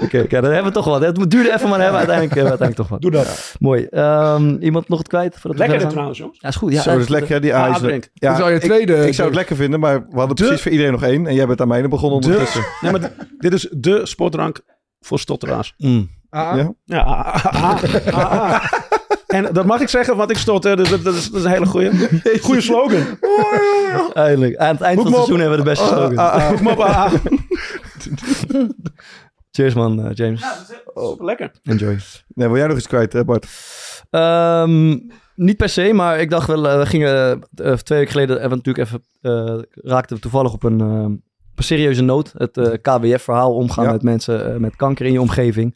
Speaker 1: Oké, oké, dan hebben we toch wat. Het duurde even, maar dan hebben we uiteindelijk, hebben we uiteindelijk toch wat.
Speaker 6: Doe dat.
Speaker 1: Mooi. Ehm, iemand nog het kwijt? Voordat we
Speaker 6: Lekker dit
Speaker 1: verder gaan?
Speaker 6: trouwens, jongens.
Speaker 1: Ja, is goed. Ja,
Speaker 5: Zo, dat is lekker, hè, die
Speaker 6: Ah,
Speaker 5: Ajax.
Speaker 6: drink.
Speaker 5: Ja,
Speaker 3: Dan zou je eh,
Speaker 5: ik-
Speaker 3: tweede-
Speaker 5: Ik zou het lekker vinden, maar we hadden
Speaker 6: De-
Speaker 5: precies voor iedereen nog één. En jij bent aan mijne begonnen
Speaker 6: De-
Speaker 5: ondertussen.
Speaker 6: Nee, maar d- dit is de sportdrank voor stotteraars.
Speaker 1: Mm.
Speaker 3: ah.
Speaker 5: Ja.
Speaker 6: Ja, ah, ah, ah, ah, ah. En dat mag ik zeggen, want ik stotter. Dus dat, dat is, dat is een hele goeie. Goeie slogan.
Speaker 1: Eindelijk. Aan het eind van het
Speaker 6: Hoek me op.
Speaker 1: seizoen hebben we de beste slogan.
Speaker 6: Hoek me op, ah, ah.
Speaker 1: Cheers man, eh, James.
Speaker 6: Oh, Lekker.
Speaker 1: Enjoy.
Speaker 5: Nee, wil jij nog iets kwijt, hè, Bart?
Speaker 1: Ehm, Niet per se, maar ik dacht wel, eh, we gingen eh, twee weken geleden hebben we natuurlijk even, eh, raakten we toevallig op een, eh, op een serieuze nood. Het eh, KWF-verhaal, omgaan
Speaker 5: Ja.
Speaker 1: met mensen eh, met kanker in je omgeving.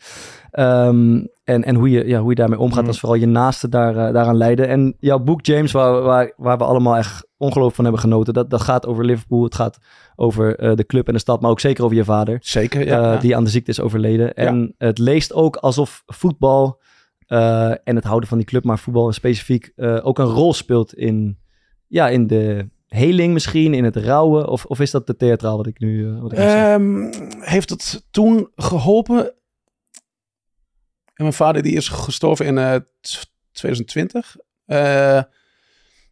Speaker 1: Ehm, en en hoe, je, ja, hoe je daarmee omgaat,
Speaker 3: Mm.
Speaker 1: als vooral je naasten daar, eh, daaraan leiden. En jouw boek, James, waar, waar, waar we allemaal echt ongelooflijk van hebben genoten, dat, dat gaat over Liverpool, het gaat over eh, de club en de stad, maar ook zeker over je vader.
Speaker 6: Zeker,
Speaker 1: eh,
Speaker 6: ja. ja.
Speaker 1: die aan de ziekte is overleden. En het leest ook alsof voetbal eh, en het houden van die club, maar voetbal specifiek, eh, ook een rol speelt in, ja, in de heling misschien, in het rouwen. Of, of is dat de theatraal wat ik nu eh, wat ik nu zeg?
Speaker 6: Ehm, heeft het toen geholpen? En mijn vader die is gestorven in eh, t- 2020. Eh,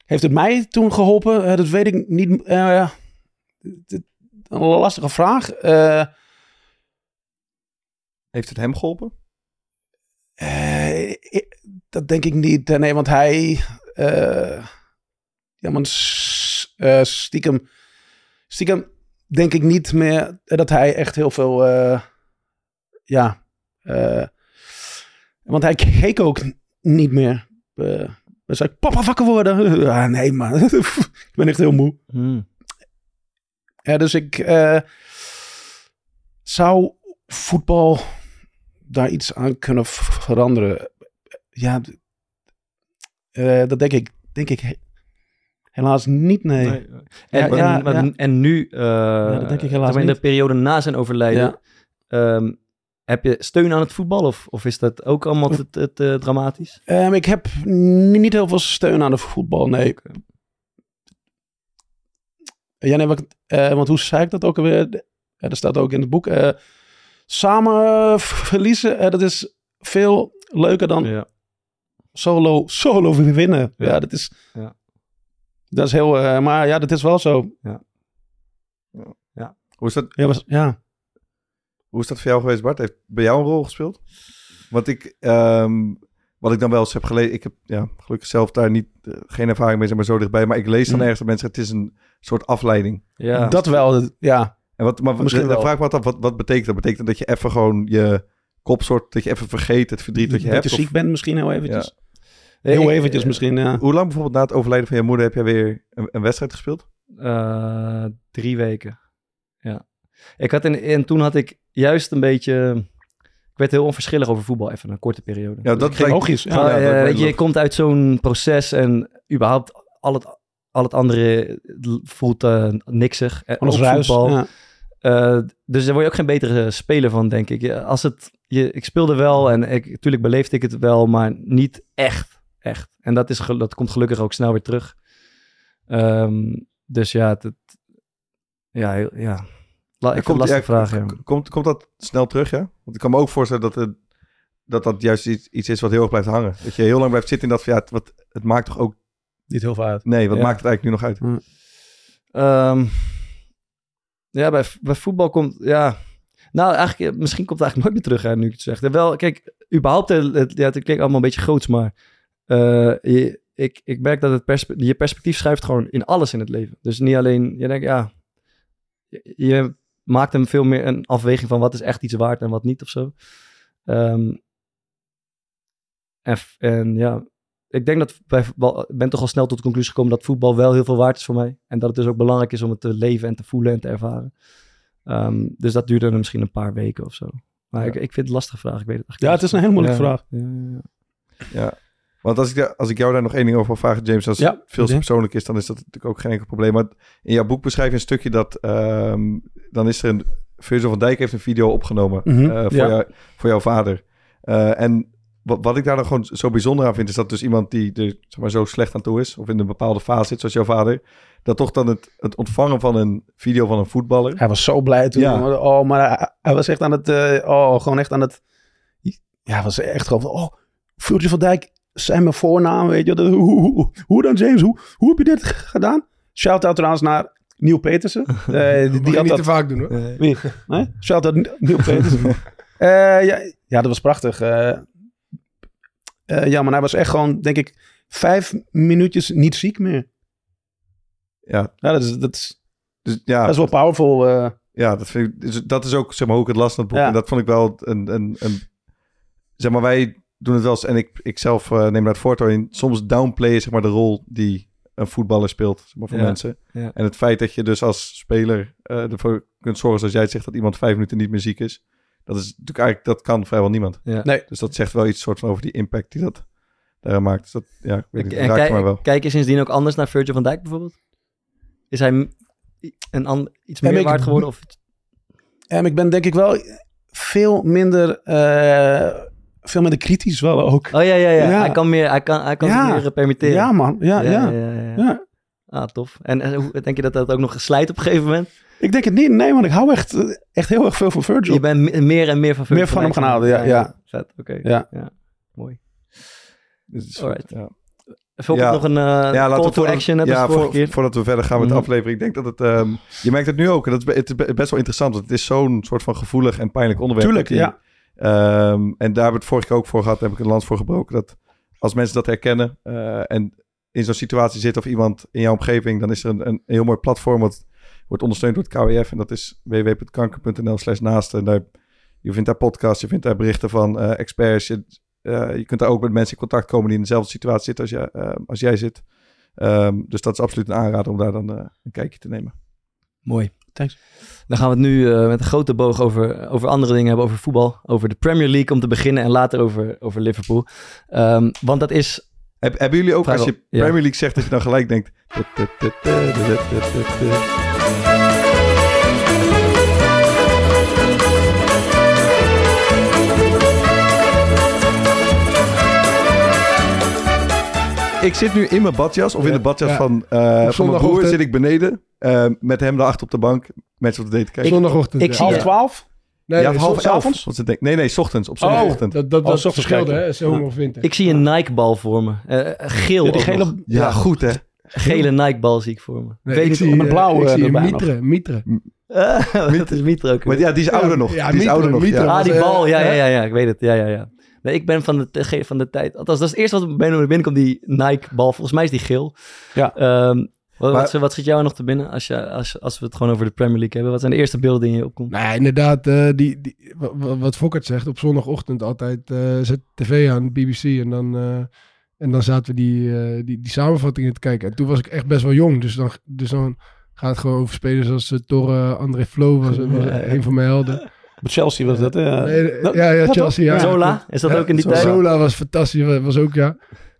Speaker 6: heeft het mij toen geholpen? Eh, dat weet ik niet. eh, dit- een lastige vraag. Eh,
Speaker 5: Heeft het hem geholpen?
Speaker 6: Eh, ik- dat denk ik niet. Eh, Nee, want hij. eh, ja, man. s- eh, stiekem. Stiekem denk ik niet meer eh, dat hij echt heel veel. eh, ja. eh, want hij keek ook niet meer. Eh dan zei ik, papa wakker worden. Ah, nee, man. ik ben echt heel moe.
Speaker 1: Hmm.
Speaker 6: Ja, dus ik eh, zou voetbal daar iets aan kunnen v- veranderen. Ja, d- eh, dat denk ik, denk ik he- helaas niet, nee.
Speaker 1: En,
Speaker 6: Ja,
Speaker 1: en,
Speaker 6: ja,
Speaker 1: maar-
Speaker 6: ja.
Speaker 1: en nu, eh,
Speaker 6: dat denk
Speaker 1: zeg
Speaker 6: ik
Speaker 1: maar
Speaker 6: helaas
Speaker 1: in de
Speaker 6: niet.
Speaker 1: periode na zijn overlijden,
Speaker 6: Ja.
Speaker 1: ehm, heb je steun aan het voetbal? Of, of is dat ook allemaal te, te- te dramatisch?
Speaker 6: Ehm, ik heb ni- niet heel veel steun aan de voetbal, nee. Ja, nee, wat, eh, want hoe zei ik dat ook alweer? Eh, dat staat ook in het boek. eh, samen eh, v- verliezen, eh, dat is veel leuker dan
Speaker 1: Ja.
Speaker 6: solo, solo winnen. Ja,
Speaker 1: Ja.
Speaker 6: dat is.
Speaker 1: Ja.
Speaker 6: Dat is heel. eh, maar ja, dat is wel zo.
Speaker 5: Hoe is, dat,
Speaker 6: Ja, was, ja.
Speaker 5: hoe is dat voor jou geweest, Bart? Heeft bij jou een rol gespeeld? Want ik, ehm, wat ik dan wel eens heb gelezen, ik heb ja, gelukkig zelf daar niet, eh, geen ervaring mee, zeg maar zo dichtbij, maar ik lees dan
Speaker 6: Mm.
Speaker 5: ergens dat mensen zeggen, het is een soort afleiding.
Speaker 1: Ja.
Speaker 6: dat wel. Ja.
Speaker 5: En wat, maar
Speaker 6: Misschien
Speaker 5: Misschien de,
Speaker 6: wel.
Speaker 5: vraag wat, wat, wat betekent dat? Betekent dat je even gewoon je kop soort, dat je even vergeet het verdriet dat je hebt?
Speaker 6: je ziek
Speaker 5: Of
Speaker 6: bent misschien heel eventjes.
Speaker 1: Nee,
Speaker 6: Heel
Speaker 1: Eh, ik-
Speaker 6: eventjes misschien, ja.
Speaker 5: hoe lang bijvoorbeeld na het overlijden van je moeder heb jij weer een, een wedstrijd gespeeld?
Speaker 1: Eh, drie weken. Ja. Ik had in, en toen had ik juist een beetje. Ik werd heel onverschillig over voetbal, even een korte periode.
Speaker 5: Ja, dat
Speaker 1: ik,
Speaker 5: lijkt-
Speaker 6: Logisch.
Speaker 1: Van,
Speaker 6: Ja.
Speaker 5: ja,
Speaker 1: eh,
Speaker 5: dat
Speaker 1: weet je,
Speaker 5: wel.
Speaker 1: je komt uit zo'n proces en überhaupt al het, al het andere voelt eh, niksig. Eh,
Speaker 6: Alles
Speaker 1: ook
Speaker 6: ruis. Ja.
Speaker 1: eh, dus daar word je ook geen betere speler van, denk ik. Ja, Als het, je, ik speelde wel en ik, natuurlijk beleefde ik het wel, maar niet echt. Echt. En dat, is, gel- dat komt gelukkig ook snel weer terug. Ehm, dus ja, het, het- ja, heel- ja. La, ik
Speaker 5: En
Speaker 1: vind het lastig
Speaker 5: ja,
Speaker 1: vragen.
Speaker 5: k- Komt, komt dat snel terug, ja? Want ik kan me ook voorstellen dat het, dat, dat juist iets, iets is wat heel erg blijft hangen. Dat je heel lang blijft zitten in dat van, ja, het, wat, het maakt toch ook...
Speaker 6: Niet heel veel uit.
Speaker 5: Nee, wat
Speaker 6: Ja.
Speaker 5: maakt het eigenlijk nu nog uit?
Speaker 1: Ja, Ehm, ja bij, v- bij voetbal komt, ja. Nou, eigenlijk, eh, misschien komt het eigenlijk nooit meer terug, hè, nu ik het zeg. Wel, kijk, überhaupt, eh, het, ja, het klinkt allemaal een beetje groots, maar eh, je, ik, ik merk dat het perspe- je perspectief schuift gewoon in alles in het leven. Dus niet alleen, je denkt, ja, je, je maakt hem veel meer een afweging van wat is echt iets waard en wat niet of zo. Ehm, en, f- en ja, ik denk dat bij voetbal, ik ben toch al snel tot de conclusie gekomen dat voetbal wel heel veel waard is voor mij. En dat het dus ook belangrijk is om het te leven en te voelen en te ervaren. Ehm, dus dat duurde misschien een paar weken of zo. Maar
Speaker 5: Ja.
Speaker 1: ik, ik vind het een lastige vraag. Ik weet het eigenlijk
Speaker 6: Ja,
Speaker 1: niet.
Speaker 6: het is een hele moeilijke
Speaker 1: Ja.
Speaker 6: vraag.
Speaker 1: Ja, ja, ja.
Speaker 5: Want als ik, daar- als ik jou daar nog één ding over mag vragen, James, als
Speaker 6: Ja,
Speaker 5: het veel te
Speaker 6: oké.
Speaker 5: persoonlijk is, dan is dat natuurlijk ook geen enkel probleem. Maar in jouw boek beschrijf je een stukje dat, ehm, dan is er een, Virgil van Dijk heeft een video opgenomen
Speaker 6: Mhm,
Speaker 5: eh, voor,
Speaker 6: ja.
Speaker 5: jou, voor jouw vader. Eh, en wat, wat ik daar dan gewoon zo bijzonder aan vind, is dat dus iemand die er zeg maar, zo slecht aan toe is, of in een bepaalde fase zit, zoals jouw vader, dat toch dan het, het ontvangen van een video van een voetballer,
Speaker 6: Hij was zo blij toen.
Speaker 5: Ja.
Speaker 6: Oh, maar hij, hij was echt aan het... eh, oh, gewoon echt aan het... Ja, hij was echt gewoon... van, Oh, Virgil van Dijk zijn mijn voornaam, weet je. Dat, hoe, hoe, hoe dan, James? Hoe, hoe heb je dit gedaan? Shout-out trouwens naar Neil Petersen. Eh, die-
Speaker 3: Mag
Speaker 6: die
Speaker 3: je
Speaker 6: had
Speaker 3: niet
Speaker 6: dat
Speaker 3: te vaak doen hoor.
Speaker 6: Nee. nee? Shout-out N- Neil Petersen. Eh, ja, ja, dat was prachtig. Eh, eh, ja, maar hij was echt gewoon, denk ik, vijf minuutjes niet ziek meer.
Speaker 5: Ja.
Speaker 6: Ja, Ah. dat is, dat is,
Speaker 5: Dus ja,
Speaker 6: dat is wel powerful. eh.
Speaker 5: ja dat, vind ik, dus dat is ook zeg maar, hoe ik het las in het boek.
Speaker 6: Ja.
Speaker 5: En dat vond ik wel een, een, een... Zeg maar, wij doen het wel eens. En ik, ik zelf eh, neem daar het voortouw in. Soms downplayen zeg maar, de rol die een voetballer speelt zeg maar, voor
Speaker 1: Ja,
Speaker 5: mensen.
Speaker 1: ja.
Speaker 5: En het feit dat je dus als speler eh, ervoor kunt zorgen, zoals jij het zegt, dat iemand vijf minuten niet meer ziek is. Dat is natuurlijk eigenlijk, dat kan vrijwel niemand.
Speaker 1: Ja.
Speaker 6: Nee.
Speaker 5: Dus dat zegt wel iets soort van over die impact die dat daar maakt. Dus dat, ja, ik weet
Speaker 1: En
Speaker 5: niet,
Speaker 1: en
Speaker 5: dat raakt mij
Speaker 1: kijk-
Speaker 5: wel.
Speaker 1: kijk je sindsdien ook anders naar Virgil van Dijk bijvoorbeeld? Is hij m- i- een an- iets meer
Speaker 6: maar ik-
Speaker 1: waard geworden? Of...
Speaker 6: Ehm, ik ben denk ik wel veel minder, eh, veel minder kritisch wel ook.
Speaker 1: Oh ja, ja, ja,
Speaker 6: Ja.
Speaker 1: Hij kan, meer, hij kan, hij kan
Speaker 6: Ja.
Speaker 1: zich meer eh, permitteren.
Speaker 6: Ja man, ja, ja.
Speaker 1: ja, ja.
Speaker 6: Ja.
Speaker 1: Ah, tof. En eh, hoe- denk je dat dat ook nog slijt op een gegeven moment?
Speaker 6: Ik denk het niet, nee man, ik hou echt, eh, echt heel erg veel van Virgil.
Speaker 1: Je bent me- meer en meer van Virgil
Speaker 6: Meer van
Speaker 1: Dijk
Speaker 6: hem gaan
Speaker 1: gaan-
Speaker 6: houden, ja, ja.
Speaker 1: Vet, oké.
Speaker 6: Ja.
Speaker 1: Mooi.
Speaker 5: Dus,
Speaker 1: Alright.
Speaker 5: ja.
Speaker 1: Even
Speaker 5: Ja.
Speaker 1: nog een eh
Speaker 5: Ja, laten
Speaker 1: call
Speaker 5: we
Speaker 1: to
Speaker 5: voordat,
Speaker 1: action, net
Speaker 5: ja,
Speaker 1: als vorige
Speaker 5: voor-
Speaker 1: keer.
Speaker 5: voordat we verder gaan met de
Speaker 1: Mhm.
Speaker 5: aflevering. Ik denk dat het, ehm, je merkt het nu ook. en Dat is, be- het is be- best wel interessant. Want het is zo'n soort van gevoelig en pijnlijk onderwerp.
Speaker 6: Tuurlijk,
Speaker 5: Dat die-
Speaker 6: ja.
Speaker 5: Ehm, en daar hebben we het vorige keer ook voor gehad. Daar heb ik een lans voor gebroken. Dat als mensen dat herkennen eh, en in zo'n situatie zitten of iemand in jouw omgeving, dan is er een, een heel mooi platform wat wordt ondersteund door het KWF. En dat is www.kanker.nl slash naasten. En daar, je vindt daar podcasts, je vindt daar berichten van eh, experts. Je, eh, je kunt daar ook met mensen in contact komen die in dezelfde situatie zitten als, jij- eh, als jij zit. Ehm, dus dat is absoluut een aanrader om daar dan eh, een kijkje te nemen.
Speaker 1: Mooi.
Speaker 6: Thanks.
Speaker 1: Dan gaan we het nu eh, met een grote boog over, over andere dingen hebben, over voetbal, over de Premier League om te beginnen en later over, over Liverpool. Ehm, want dat is,
Speaker 5: Heb- hebben jullie ook, als
Speaker 1: Vrijwel,
Speaker 5: je
Speaker 1: ja.
Speaker 5: Premier League zegt, dat je dan gelijk denkt... "Tut, tut, tut, tut, tut, tut, tut, tut." Ik zit nu in mijn badjas, of in
Speaker 3: Ja,
Speaker 5: de badjas
Speaker 3: ja.
Speaker 5: van, eh van mijn broer
Speaker 3: zondagochtend.
Speaker 5: zit ik beneden. eh, met hem daarachter op de bank. Mensen op de date kijken.
Speaker 3: Zondagochtend.
Speaker 1: ik
Speaker 3: ja.
Speaker 1: zie-
Speaker 6: Half
Speaker 1: Ja.
Speaker 6: twaalf?
Speaker 3: Nee,
Speaker 5: ja,
Speaker 3: nee,
Speaker 5: of half
Speaker 3: zo-
Speaker 5: elf.
Speaker 6: avonds?
Speaker 5: Wat ze denken. Nee, nee, 's ochtends. Op
Speaker 3: Dat,
Speaker 5: zondagochtend.
Speaker 3: dat, dat,
Speaker 6: Oh,
Speaker 3: dat
Speaker 6: s ochtends
Speaker 3: verschilde,
Speaker 6: kijken.
Speaker 3: hè? Zomer of winter.
Speaker 1: ik zie een Nike-bal voor me. Eh, geel
Speaker 6: Ja,
Speaker 1: ook
Speaker 6: die
Speaker 1: nog.
Speaker 6: gele,
Speaker 5: ja, goed hè.
Speaker 1: Gele Nike-bal zie ik voor me.
Speaker 3: Nee,
Speaker 1: Weet
Speaker 3: ik
Speaker 1: niet
Speaker 3: zie,
Speaker 6: om een
Speaker 3: eh,
Speaker 6: blauwe
Speaker 3: ik zie een
Speaker 6: erbij
Speaker 3: Mitre. Mitre.
Speaker 1: of- dat is Mitra ook.
Speaker 5: Maar ja, die is ouder nog.
Speaker 3: ja,
Speaker 5: die is
Speaker 3: Mitra,
Speaker 5: ouder nog.
Speaker 3: Mitra.
Speaker 5: ja.
Speaker 1: ah, die
Speaker 3: was, eh,
Speaker 1: bal. Ja, ja,
Speaker 3: hè?
Speaker 1: ja, ja, ik weet het. Ja, ja, ja. Nee, ik ben van de, te- ge- van de tijd. Althans, dat is het eerste wat bij me binnenkomt, die Nike-bal. Volgens mij is die geel.
Speaker 6: Ja.
Speaker 1: Ehm, wat,
Speaker 5: Maar-
Speaker 1: wat, wat schiet jou nog te binnen als, je, als, als we het gewoon over de Premier League hebben? Wat zijn de eerste beelden die in je opkomt?
Speaker 3: Nou, ja, inderdaad, eh, die, die, wa- wa- wat Fokkert zegt, op zondagochtend altijd eh, zet tv aan, BBC, en dan, eh, en dan zaten we die, eh, die, die samenvattingen te kijken. En toen was ik echt best wel jong, dus dan, dus dan gaat het gewoon over spelers als eh, Torre, André Flo was, was een van mijn helden.
Speaker 6: Met Chelsea was dat. eh.
Speaker 3: Nee, eh,
Speaker 6: dat-
Speaker 3: ja, ja,
Speaker 6: dat
Speaker 3: Chelsea,
Speaker 6: toch?
Speaker 3: ja.
Speaker 1: Zola, is dat
Speaker 3: Ja,
Speaker 1: ook in die
Speaker 5: Zola.
Speaker 1: tijd?
Speaker 5: Zola.
Speaker 3: Zola was fantastisch, wa- was ook, ja.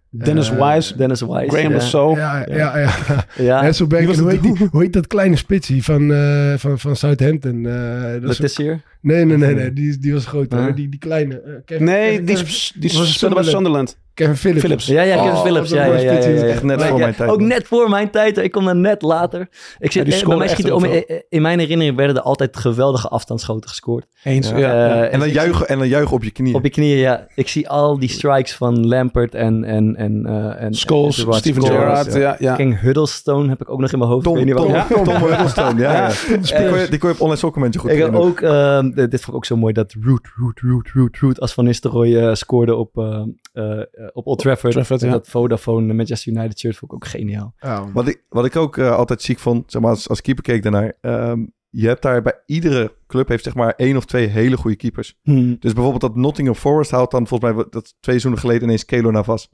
Speaker 6: Dennis
Speaker 3: Eh,
Speaker 6: Wise,
Speaker 1: Dennis Wise.
Speaker 6: Graham
Speaker 1: Oh, ja.
Speaker 6: Lasso.
Speaker 3: Ja, ja, ja.
Speaker 1: Ja,
Speaker 3: Hasselbeck,
Speaker 6: Die was
Speaker 3: en hoe
Speaker 6: het-
Speaker 3: heet, die, hoe heet dat kleine spitsie van, eh, van, van Southampton? Eh, dat is
Speaker 1: dat is hier.
Speaker 3: Nee, nee, nee, nee. Die, die was groot. hoor.
Speaker 1: Ah.
Speaker 3: Die, die kleine. eh, Kevin,
Speaker 6: Nee,
Speaker 3: Kevin-
Speaker 6: die,
Speaker 3: Kevin-
Speaker 6: is- die
Speaker 3: was het
Speaker 6: speelde bij Sunderland.
Speaker 3: Kevin Phillips.
Speaker 6: Phillips.
Speaker 1: Ja, ja, Kevin
Speaker 3: Oh,
Speaker 1: Philips.
Speaker 3: dat
Speaker 1: Ja, ja,
Speaker 3: was
Speaker 1: ja,
Speaker 3: dit,
Speaker 1: ja,
Speaker 3: dit is
Speaker 1: ja.
Speaker 5: echt net
Speaker 1: Maar
Speaker 5: voor
Speaker 1: ja,
Speaker 5: mijn tijd
Speaker 1: Ook
Speaker 5: nog.
Speaker 1: net voor mijn tijd. Ik kom dan net later. Ik
Speaker 6: die
Speaker 1: zit, eh, bij
Speaker 6: scoorde
Speaker 1: mij
Speaker 6: echt
Speaker 1: schieten,
Speaker 6: heel
Speaker 1: om-
Speaker 6: veel.
Speaker 1: eh, eh, in mijn herinnering werden er altijd geweldige afstandsschoten gescoord.
Speaker 6: Eens. Ja.
Speaker 1: Eh,
Speaker 5: En dan juichen, en dan juichen op je knieën.
Speaker 1: Op je knieën, ja. Ik zie al die strikes van Lampert en... en, en, eh en
Speaker 6: Scholes,
Speaker 1: en Gerrard,
Speaker 6: Steven
Speaker 1: Scholes.
Speaker 6: Gerrard. Ja, ja.
Speaker 1: King Huddlestone heb ik ook nog in mijn hoofd.
Speaker 5: Tom,
Speaker 1: Ik weet niet
Speaker 5: Tom,
Speaker 1: waarom.
Speaker 5: Tom, Hiddleston, ja. ja. Die, kon je, die kon je op online sokkenmentje goed
Speaker 1: Ik heb
Speaker 5: vinden.
Speaker 1: ook, ehm, dit dit vond ik ook zo mooi, dat Root, Root, Root, Root, Root als Van Nistelrooy eh, scoorde op, eh, eh, eh, op Old Trafford.
Speaker 6: Trafford,
Speaker 1: Met
Speaker 6: ja.
Speaker 1: Dat Vodafone Manchester United shirt vond ik ook geniaal.
Speaker 3: Oh,
Speaker 5: Wat ik, wat ik ook eh, altijd ziek vond, zeg maar, als, als keeper keek daarnaar. ehm, je hebt daar bij iedere club heeft zeg maar één of twee hele goede keepers.
Speaker 1: Hm.
Speaker 5: Dus bijvoorbeeld dat Nottingham Forest houdt dan volgens mij dat twee seizoenen geleden ineens Kelo Navas.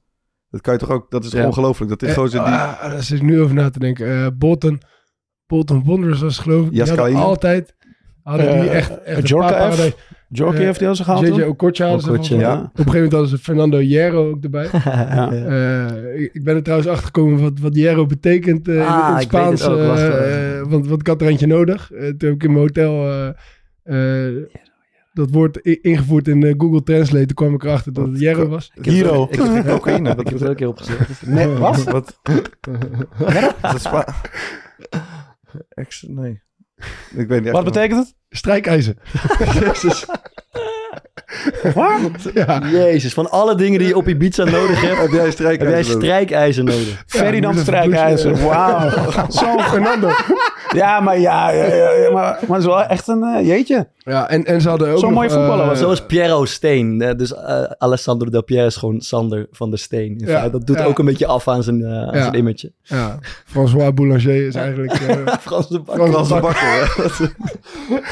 Speaker 5: Dat kan je toch ook, dat is
Speaker 1: Ja.
Speaker 5: ongelooflijk. Dat is
Speaker 3: Eh,
Speaker 5: gozer die...
Speaker 3: ah, daar zit ik nu over na te denken. Eh, Bolton, Bolton Wanderers was het, geloof ik. Die
Speaker 5: Jaskai.
Speaker 3: hadden altijd... Hadden die
Speaker 6: Eh,
Speaker 3: echt, echt een
Speaker 6: Djorkaeff?
Speaker 3: paar paradijs.
Speaker 6: Jorkie
Speaker 3: Eh,
Speaker 6: heeft die al zo gehaald
Speaker 3: JJ
Speaker 6: toen?
Speaker 3: Okocha hadden ze
Speaker 1: Okocha,
Speaker 3: volgens mij.
Speaker 5: ja.
Speaker 3: Op een gegeven moment hadden ze Fernando Hierro ook erbij. Eh, ik- ik ben er trouwens achter gekomen wat, wat Hierro betekent eh, in-
Speaker 1: Ah,
Speaker 3: in het
Speaker 1: ik weet het
Speaker 3: Spaans.
Speaker 1: ook, wacht
Speaker 3: eh,
Speaker 1: even.
Speaker 3: want, want ik had er eentje nodig. Eh, toen heb ik in mijn hotel eh, eh, dat woord i- ingevoerd in eh, Google Translate. Toen kwam ik erachter dat het Hierro was.
Speaker 1: Ik heb het
Speaker 6: Hero.
Speaker 1: ook- Ik heb het ook-
Speaker 5: Cocaïne,
Speaker 1: ik
Speaker 5: wat-
Speaker 1: heb het ook een keer opgezet.
Speaker 6: Nee, wat?
Speaker 5: Wat? Is dat Spa- Ex- nee. Ik weet niet
Speaker 6: Wat
Speaker 5: echt-
Speaker 6: betekent het?
Speaker 3: Strijkijzer.
Speaker 6: Waar?
Speaker 3: Ja.
Speaker 1: Jezus, van alle dingen die je op Ibiza nodig hebt,
Speaker 5: Heb jij
Speaker 1: heb jij
Speaker 5: strijkijzer nodig?
Speaker 1: strijkijzer nodig.
Speaker 3: moet
Speaker 6: Ferdinand
Speaker 3: even
Speaker 6: Strijkijzer. Wauw.
Speaker 3: Zo, Fernando.
Speaker 6: Ja, maar ja, ja, ja, ja, maar, maar het is wel echt een eh, jeetje.
Speaker 3: Ja, en, en ze hadden ook
Speaker 6: Zo'n
Speaker 3: nog,
Speaker 6: mooie voetballer
Speaker 3: eh,
Speaker 6: was
Speaker 1: Zoals Piero Steen. eh, Dus eh, Alessandro Del Piero is gewoon Sander van der Steen. In
Speaker 3: Ja,
Speaker 1: feite, dat doet
Speaker 3: ja.
Speaker 1: ook een beetje af aan zijn, eh, aan
Speaker 3: Ja.
Speaker 1: zijn image.
Speaker 3: Ja, François Boulanger is eigenlijk... eh,
Speaker 1: Frans de Bakker.
Speaker 3: Frans de
Speaker 5: Frans de Bakker, hè?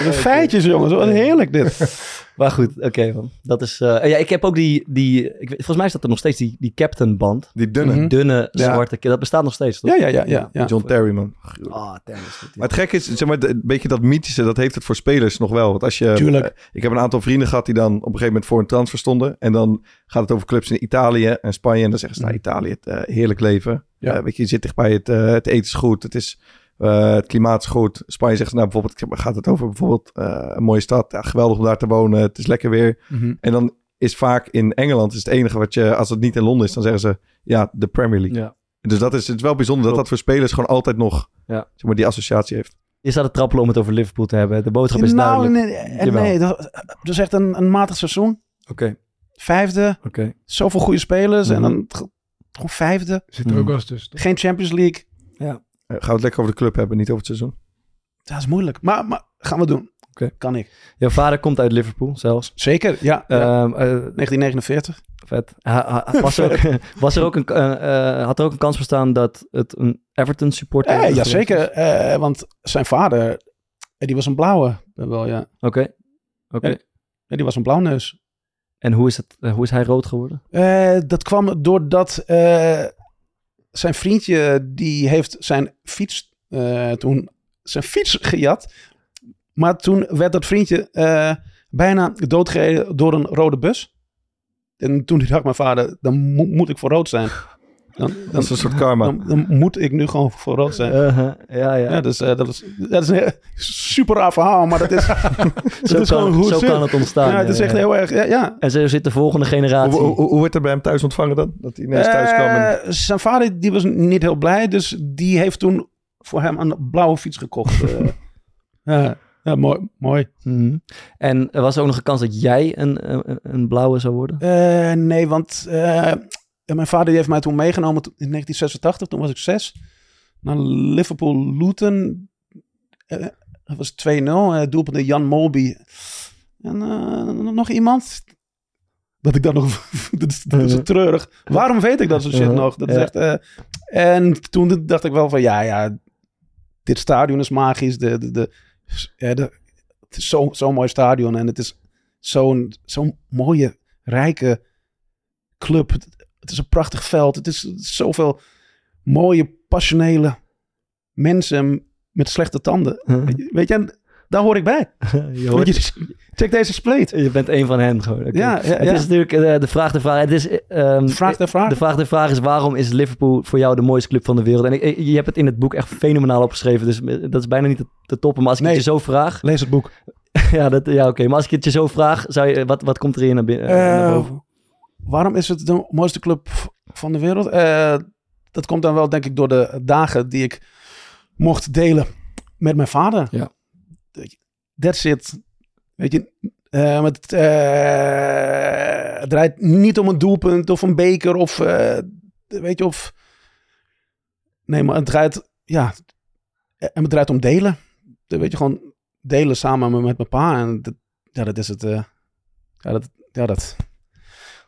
Speaker 6: De feitjes, jongens. Wat heerlijk dit.
Speaker 1: Maar goed, oké man. Dat is... eh, ja, ik heb ook die... die ik, weet- volgens mij staat er nog steeds die, die Captain band.
Speaker 5: Die dunne.
Speaker 6: Mhm.
Speaker 1: Dunne,
Speaker 5: Ja.
Speaker 1: zwarte... Dat bestaat nog steeds, toch?
Speaker 6: Ja, ja, ja. ja, ja.
Speaker 5: John Terry, man.
Speaker 1: Ah, damn, is dit-
Speaker 5: Maar het gek is, zeg maar, een beetje dat mythische, dat heeft het voor spelers nog wel. Want als je,
Speaker 6: Tuurlijk.
Speaker 5: eh, Ik heb een aantal vrienden gehad die dan op een gegeven moment voor een transfer stonden. En dan gaat het over clubs in Italië en Spanje. En dan zeggen ze, nou, Italië, het, eh, heerlijk leven.
Speaker 6: Mhm. Ja.
Speaker 5: Eh, weet je, je zit dichtbij, het, eh, het eten is goed, het, is, eh, het klimaat is goed. Spanje zegt, nou, bijvoorbeeld, gaat het over bijvoorbeeld eh, een mooie stad. Ja, geweldig om daar te wonen, het is lekker weer.
Speaker 6: Mhm.
Speaker 5: En dan is vaak in Engeland is het enige wat je, als het niet in Londen is, dan zeggen ze, ja, de Premier League.
Speaker 3: Ja.
Speaker 5: Dus dat is, het is wel bijzonder dat dat voor spelers gewoon altijd nog
Speaker 1: Ja.
Speaker 5: zeg maar, die associatie heeft.
Speaker 1: Je staat te trappelen om het over Liverpool te hebben. De boodschap is
Speaker 6: Nou,
Speaker 1: duidelijk.
Speaker 6: nee, nee,
Speaker 1: Jawel.
Speaker 6: nee, dat, dat is echt een, een matig seizoen.
Speaker 1: Oké,
Speaker 6: Vijfde,
Speaker 1: oké.
Speaker 6: zoveel goede spelers en dan ge- gewoon vijfde.
Speaker 3: Zit er
Speaker 1: Mm.
Speaker 3: ook wel eens tussen. toch?
Speaker 6: Geen Champions League.
Speaker 5: Eh, gaan we het lekker over de club hebben, niet over het seizoen.
Speaker 6: Dat is moeilijk. Maar, maar gaan we doen.
Speaker 1: Oké.
Speaker 6: Kan ik.
Speaker 1: Jouw vader komt uit Liverpool zelfs.
Speaker 6: Zeker, ja. ja.
Speaker 1: Ehm, eh,
Speaker 6: 1949.
Speaker 1: vet. Ha- ha- was, er ook, was er ook een, eh, eh, had er ook een kans bestaan dat het een Everton supporter
Speaker 6: Eh,
Speaker 1: geweest
Speaker 6: ja,
Speaker 1: was?
Speaker 6: zeker. eh, want zijn vader, eh, die was een blauwe. eh, Wel, ja.
Speaker 1: Oké, oké.
Speaker 6: Ja. ja. Die was een blauwneus.
Speaker 1: En hoe is, het, eh, hoe is hij rood geworden?
Speaker 6: Eh, dat kwam doordat eh, zijn vriendje, die heeft zijn fiets eh, toen, zijn fiets gejat. Maar toen werd dat vriendje eh, bijna doodgereden door een rode bus. En toen dacht mijn vader, dan moet- moet ik voor rood zijn. Dan,
Speaker 5: Dat
Speaker 6: dan,
Speaker 5: is een soort karma.
Speaker 6: dan, dan moet ik nu gewoon voor rood zijn.
Speaker 1: Eh, ja, ja.
Speaker 6: Ja, dus eh, dat, is, dat is een heel- super raar verhaal, maar dat is, dat
Speaker 1: zo
Speaker 6: is gewoon
Speaker 1: kan,
Speaker 6: hoe
Speaker 1: zo
Speaker 6: het zit.
Speaker 1: kan het ontstaan.
Speaker 6: ja, het
Speaker 1: ja,
Speaker 6: is echt
Speaker 1: ja.
Speaker 6: heel erg, ja. ja.
Speaker 1: En zo zit de volgende generatie.
Speaker 5: Hoe, hoe, hoe- hoe werd er bij hem thuis ontvangen dan? Dat hij ineens thuis kwam. En...
Speaker 6: Eh, zijn vader die was niet heel blij, dus die heeft toen voor hem een blauwe fiets gekocht. eh. ja, ja, mooi. mooi.
Speaker 1: Mhm. En er was ook nog een kans dat jij een, eh, een, een blauwe zou worden?
Speaker 6: Eh, nee, want eh, mijn vader die heeft mij toen meegenomen to- in 1986, toen was ik zes, naar Liverpool-Luton. Eh, dat was 2-0, eh doelpunt door Jan Molby. En eh, nog iemand. Dat ik dat nog... dat, is, dat is
Speaker 1: Mhm.
Speaker 6: treurig. Waarom weet ik dat soort shit
Speaker 1: Mhm,
Speaker 6: nog? Dat is
Speaker 1: ja.
Speaker 6: echt... eh, en toen dacht ik wel van, ja, ja, dit stadion is magisch. De, de, de, ja, de, het is zo- zo'n mooi stadion en het is zo'n zo'n mooie, rijke club. Het, het is een prachtig veld. Het is zoveel mooie, passionele mensen met slechte tanden. Weet je, en Mhm. daar hoor ik bij.
Speaker 1: je,
Speaker 6: Weet
Speaker 1: hoort-
Speaker 6: je, check deze spleet.
Speaker 1: je bent een van hen gewoon. oké.
Speaker 6: Ja, ja,
Speaker 1: Het
Speaker 6: ja.
Speaker 1: is natuurlijk eh, de vraag de vraag. Het is, eh, ehm,
Speaker 6: Vraag de vraag.
Speaker 1: De vraag, de vraag is, waarom is Liverpool voor jou de mooiste club van de wereld? En ik- ik- je hebt het in het boek echt fenomenaal opgeschreven, dus eh, dat is bijna niet te, te toppen. Maar als ik
Speaker 6: Nee.
Speaker 1: het je zo vraag...
Speaker 6: Lees het boek.
Speaker 1: ja, dat- ja oké. Maar als ik het je zo vraag, zou je, wat, wat komt er hier naar binnen? eh, naar
Speaker 6: Eh,
Speaker 1: boven?
Speaker 6: waarom is het de mooiste club v- van de wereld? Eh, dat komt dan wel, denk ik, door de dagen die ik mocht delen met mijn vader.
Speaker 1: Ja.
Speaker 6: That's it. Weet je, eh, maar het, eh, het draait niet om een doelpunt of een beker of, eh, weet je, of... Nee, maar het draait, ja, eh, en het draait om delen. Dat weet je, gewoon delen samen met, met mijn pa. En dat, ja, dat is het, eh, ja, dat, ja, dat,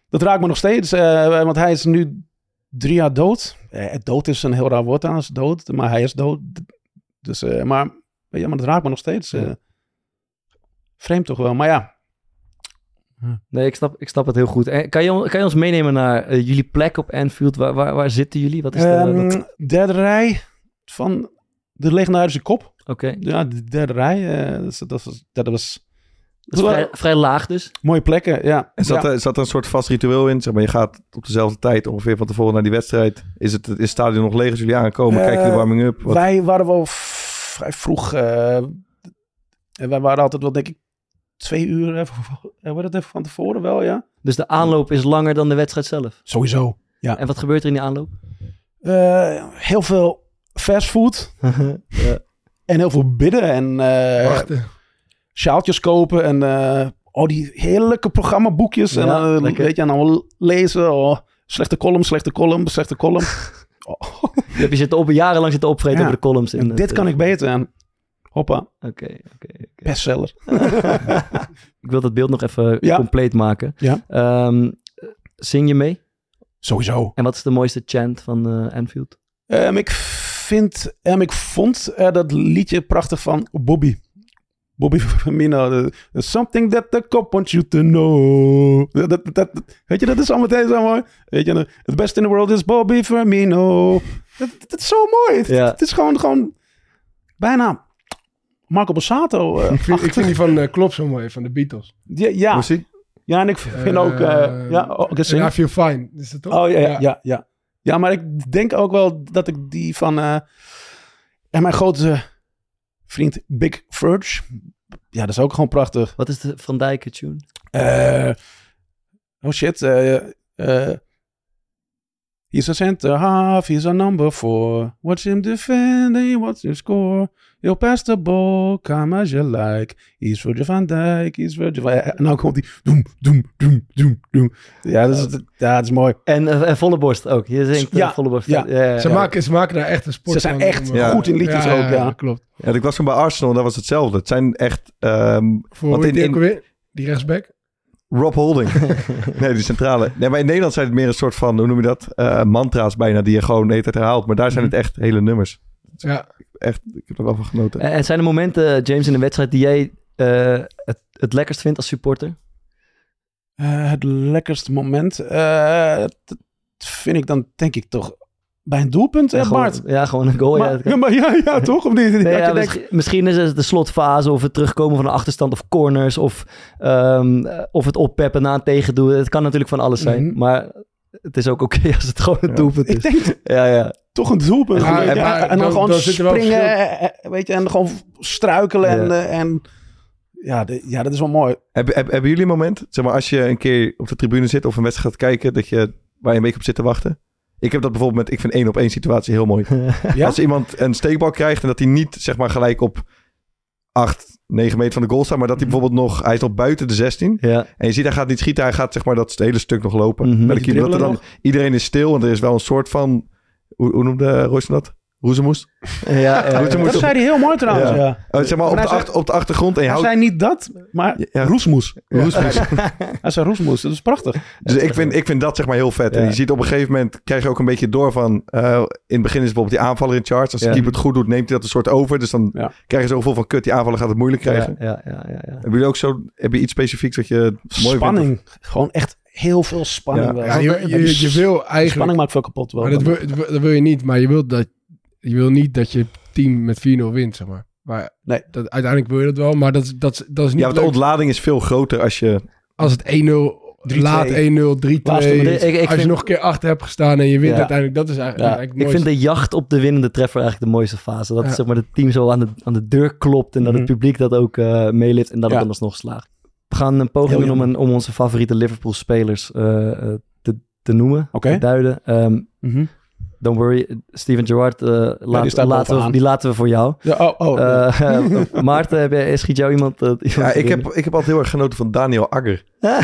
Speaker 6: dat raakt me nog steeds, eh, want hij is nu drie jaar dood. Eh, dood is een heel raar woord trouwens, dood, maar hij is dood. Dus, eh, maar, weet je, maar dat raakt me nog steeds. eh. vreemd toch wel, maar ja.
Speaker 1: Nee, ik snap, ik snap het heel goed. En kan, je, on- kan je ons meenemen naar eh, jullie plek op Anfield? Waar, waar, waar zitten jullie? Wat is de... wat-
Speaker 6: Ehm, derde rij van de legendarische kop.
Speaker 1: Oké,
Speaker 6: Ja, de derde rij, eh, dus dat, was, dat was
Speaker 1: dat is vrij, vrij laag dus.
Speaker 6: mooie plekken, ja.
Speaker 5: En zat,
Speaker 6: ja.
Speaker 5: er, zat er een soort vast ritueel in? Zeg maar, je gaat op dezelfde tijd ongeveer van tevoren naar die wedstrijd. Is het, is het stadion nog leeg als jullie aankomen? Kijk je de
Speaker 6: Eh,
Speaker 5: warming up? Wat-
Speaker 6: Wij waren wel v- vrij vroeg. eh, en wij waren altijd wel, denk ik, twee uur, eh, eh, wordt het even van tevoren wel, ja.
Speaker 1: Dus de aanloop is langer dan de wedstrijd zelf.
Speaker 6: Sowieso. Ja.
Speaker 1: En wat gebeurt er in die aanloop?
Speaker 6: Eh, heel veel fastfood en heel veel bidden en eh
Speaker 3: Wachten.
Speaker 6: sjaaltjes kopen en eh al die heerlijke programmaboekjes. en
Speaker 1: Ja,
Speaker 6: dan eh,
Speaker 1: lekker.
Speaker 6: weet je, en dan lezen. Oh, slechte column, slechte column, slechte column. Oh,
Speaker 1: Je hebt je zitten op, jarenlang zitten opvreten
Speaker 6: Ja.
Speaker 1: over de columns. In het,
Speaker 6: dit kan
Speaker 1: eh,
Speaker 6: ik beter. En hoppa,
Speaker 1: Oké, oké. oké.
Speaker 6: bestseller.
Speaker 1: Ik wil dat beeld nog even eh,
Speaker 6: Ja.
Speaker 1: compleet maken.
Speaker 6: Ja.
Speaker 1: Ehm, zing je mee?
Speaker 6: Sowieso.
Speaker 1: En wat is de mooiste chant van eh Anfield?
Speaker 6: Ehm, ik vind, ehm, ik vond eh, dat liedje prachtig van Bobby. Bobby Firmino. de- There's something that the cop wants you to know. Dat, dat, dat- weet je, dat is al meteen zo mooi. Weet je, de- het best in the world is Bobby Firmino. Dat, dat is zo mooi. Het,
Speaker 1: Ja.
Speaker 6: het is gewoon, gewoon bijna Marco Borsato. eh,
Speaker 3: Ik vind, ik vind Dus- die van eh Klopp zo mooi, van de Beatles.
Speaker 6: ja, ja,
Speaker 5: Hoe zie je?
Speaker 6: ja, en ik vind ook... eh,
Speaker 3: Eh,
Speaker 6: ja, ook een
Speaker 3: En I
Speaker 6: zin.
Speaker 3: Feel Fine, is dat toch?
Speaker 6: Oh ja, ja, ja, ja. Ja, maar ik denk ook wel dat ik die van. eh, en mijn grote vriend Big Furge. Ja, dat is ook gewoon prachtig.
Speaker 1: Wat is de Van Dijk tune?
Speaker 6: Eh, oh shit. eh eh, he's a center half, he's a number four. Watch him defending, watch him score. He'll pass the ball, come as you like. He's Virgil van Dijk, he's Virgil van En dan komt die doem, doem, doem, doem, doem. Ja, dat is, ja, dat is mooi.
Speaker 1: En, eh, en volle borst ook. Je zingt eh,
Speaker 6: Ja,
Speaker 1: volle borst.
Speaker 6: ja.
Speaker 3: Ze, maken, ze maken daar echt een sport
Speaker 6: Ze zijn
Speaker 3: van.
Speaker 6: echt
Speaker 3: om, eh,
Speaker 6: goed in liedjes ook, ja.
Speaker 3: dat klopt.
Speaker 5: Ja, ik was toen bij Arsenal en daar was hetzelfde. Het zijn echt ehm,
Speaker 3: Voor hoe
Speaker 5: Want
Speaker 3: heet
Speaker 5: in-
Speaker 3: die
Speaker 5: in-
Speaker 3: ook alweer? Die rechtsback?
Speaker 5: Rob Holding. nee, die centrale. Nee, maar in Nederland zijn het meer een soort van, hoe noem je dat? Eh, mantra's bijna, die je gewoon de hele tijd herhaalt. Maar daar zijn het echt hele nummers.
Speaker 3: Ja.
Speaker 5: Echt, ik heb er wel van genoten.
Speaker 1: En, en zijn er momenten, eh, James, in een wedstrijd die jij eh, het, het lekkerst vindt als supporter?
Speaker 6: Eh, het lekkerste moment. eh, dat vind ik dan, denk ik toch, bij een doelpunt,
Speaker 1: ja,
Speaker 6: hè,
Speaker 1: gewoon,
Speaker 6: Bart?
Speaker 1: ja, gewoon een goal.
Speaker 6: Maar-
Speaker 1: ja,
Speaker 6: ja,
Speaker 1: dat kan.
Speaker 6: maar ja, ja, toch? Of niet?
Speaker 1: Nee,
Speaker 6: Dat
Speaker 1: ja,
Speaker 6: je denkt,
Speaker 1: misschien, misschien is het de slotfase of het terugkomen van een achterstand of corners of, ehm, eh, of het oppeppen na een tegendoen. Het kan natuurlijk van alles zijn,
Speaker 6: Mhm.
Speaker 1: maar het is ook oké als het gewoon een
Speaker 5: Ja.
Speaker 1: doelpunt
Speaker 6: ik
Speaker 1: is.
Speaker 6: denk
Speaker 1: Ja, ja.
Speaker 6: toch een doelpunt.
Speaker 3: Ja,
Speaker 6: weet je,
Speaker 3: en- maar
Speaker 6: en dan
Speaker 3: dan-
Speaker 6: gewoon
Speaker 3: dan zit er wel
Speaker 6: springen, eh, eh, weet je, en gewoon struikelen. En,
Speaker 1: Ja.
Speaker 6: eh, en, ja, de- ja, dat is wel mooi.
Speaker 5: Heb, heb- hebben jullie een moment, zeg maar, als je een keer op de tribune zit of een wedstrijd gaat kijken, dat je, waar je een beetje op zit te wachten? Ik heb dat bijvoorbeeld met, ik vind één op één situatie heel mooi.
Speaker 6: Ja?
Speaker 5: Als iemand een steekbal krijgt en dat hij niet, zeg maar, gelijk op 8, 9 meter van de goal staat, maar dat hij bijvoorbeeld nog, hij is nog buiten de 16.
Speaker 1: ja.
Speaker 5: En je ziet, hij gaat niet schieten. Hij gaat zeg maar dat hele stuk nog lopen.
Speaker 1: Mhm.
Speaker 5: Bij de
Speaker 1: Beetje
Speaker 5: keeper. Dat er dan,
Speaker 6: dribbelen
Speaker 5: Iedereen is stil. En er is wel een soort van... Hoe, hoe noemde Roosje dat? Roezemoes?
Speaker 1: ja, ja, ja.
Speaker 5: Goed, dan moet
Speaker 6: Dat
Speaker 5: je-
Speaker 6: zei hij heel mooi trouwens,
Speaker 5: Ja.
Speaker 6: ja.
Speaker 5: Eh, zeg maar op
Speaker 6: Maar
Speaker 5: de,
Speaker 6: hij zei-
Speaker 5: achter- op de achtergrond. En je
Speaker 6: Hij
Speaker 5: houdt...
Speaker 6: zei niet dat, maar
Speaker 5: Ja.
Speaker 6: roesmoes.
Speaker 5: roezemoes.
Speaker 6: Hij zei roesmoes, dat is prachtig.
Speaker 5: Dus ik vind, ik vind dat zeg maar heel vet. En
Speaker 1: Ja.
Speaker 5: je ziet op een gegeven moment... Krijg je ook een beetje door van... eh, in het begin is bijvoorbeeld die aanvaller in charge. Als de
Speaker 1: Ja.
Speaker 5: keeper het goed doet, neemt hij dat een soort over. Dus dan
Speaker 6: Ja.
Speaker 5: krijg je zo'n gevoel van... Kut, die aanvaller gaat het moeilijk krijgen.
Speaker 1: Ja, ja, ja, ja.
Speaker 5: Hebben jullie ook zo... Heb je iets specifieks dat je mooi vindt?
Speaker 6: Spanning. Gewoon echt heel veel spanning.
Speaker 5: Ja.
Speaker 6: wel.
Speaker 3: ja je, je, je wil eigenlijk...
Speaker 6: Spanning maakt veel kapot. Wel.
Speaker 3: Maar dat wil, dat wil- dat wil je niet. Maar je wil, dat, je wil niet dat je team met 4-0 wint, zeg maar. maar
Speaker 6: Nee.
Speaker 3: dat, uiteindelijk wil je dat wel, maar dat, is- dat, is- dat is niet
Speaker 5: Ja, want de
Speaker 3: leuk.
Speaker 5: ontlading is veel groter als je...
Speaker 3: als het 1-0,
Speaker 6: 3-2.
Speaker 3: laat 1-0, 3-2.
Speaker 1: Laatste minuut. Ik- ik
Speaker 3: als
Speaker 1: vind-
Speaker 3: je nog een keer achter hebt gestaan en je wint
Speaker 1: Ja.
Speaker 3: uiteindelijk, dat is eigenlijk,
Speaker 6: Ja.
Speaker 3: eigenlijk
Speaker 1: Ik
Speaker 3: mooi.
Speaker 1: vind de jacht op de winnende treffer eigenlijk de mooiste fase. Dat
Speaker 3: Ja.
Speaker 1: zeg maar, het team zo aan de, aan de deur klopt en dat het
Speaker 6: Mhm.
Speaker 1: publiek dat ook eh meelift en dat het
Speaker 6: Ja.
Speaker 1: dan alsnog slaagt. We gaan een poging
Speaker 6: Heel
Speaker 1: doen om, een, om onze favoriete Liverpool-spelers eh, eh, te, te noemen,
Speaker 6: Oké.
Speaker 1: te duiden. Ehm,
Speaker 6: Mhm.
Speaker 1: Don't worry, Steven Gerrard, eh, laat-
Speaker 6: staat
Speaker 1: laten, we,
Speaker 6: bovenaan.
Speaker 1: die laten we voor jou.
Speaker 6: Ja, oh, oh.
Speaker 1: Eh, Maarten, heb jij, schiet jou iemand? eh, iemand
Speaker 5: Ja,
Speaker 1: te
Speaker 5: ik
Speaker 1: binnen?
Speaker 5: heb, ik heb altijd heel erg genoten van Daniel Agger.
Speaker 1: Ja,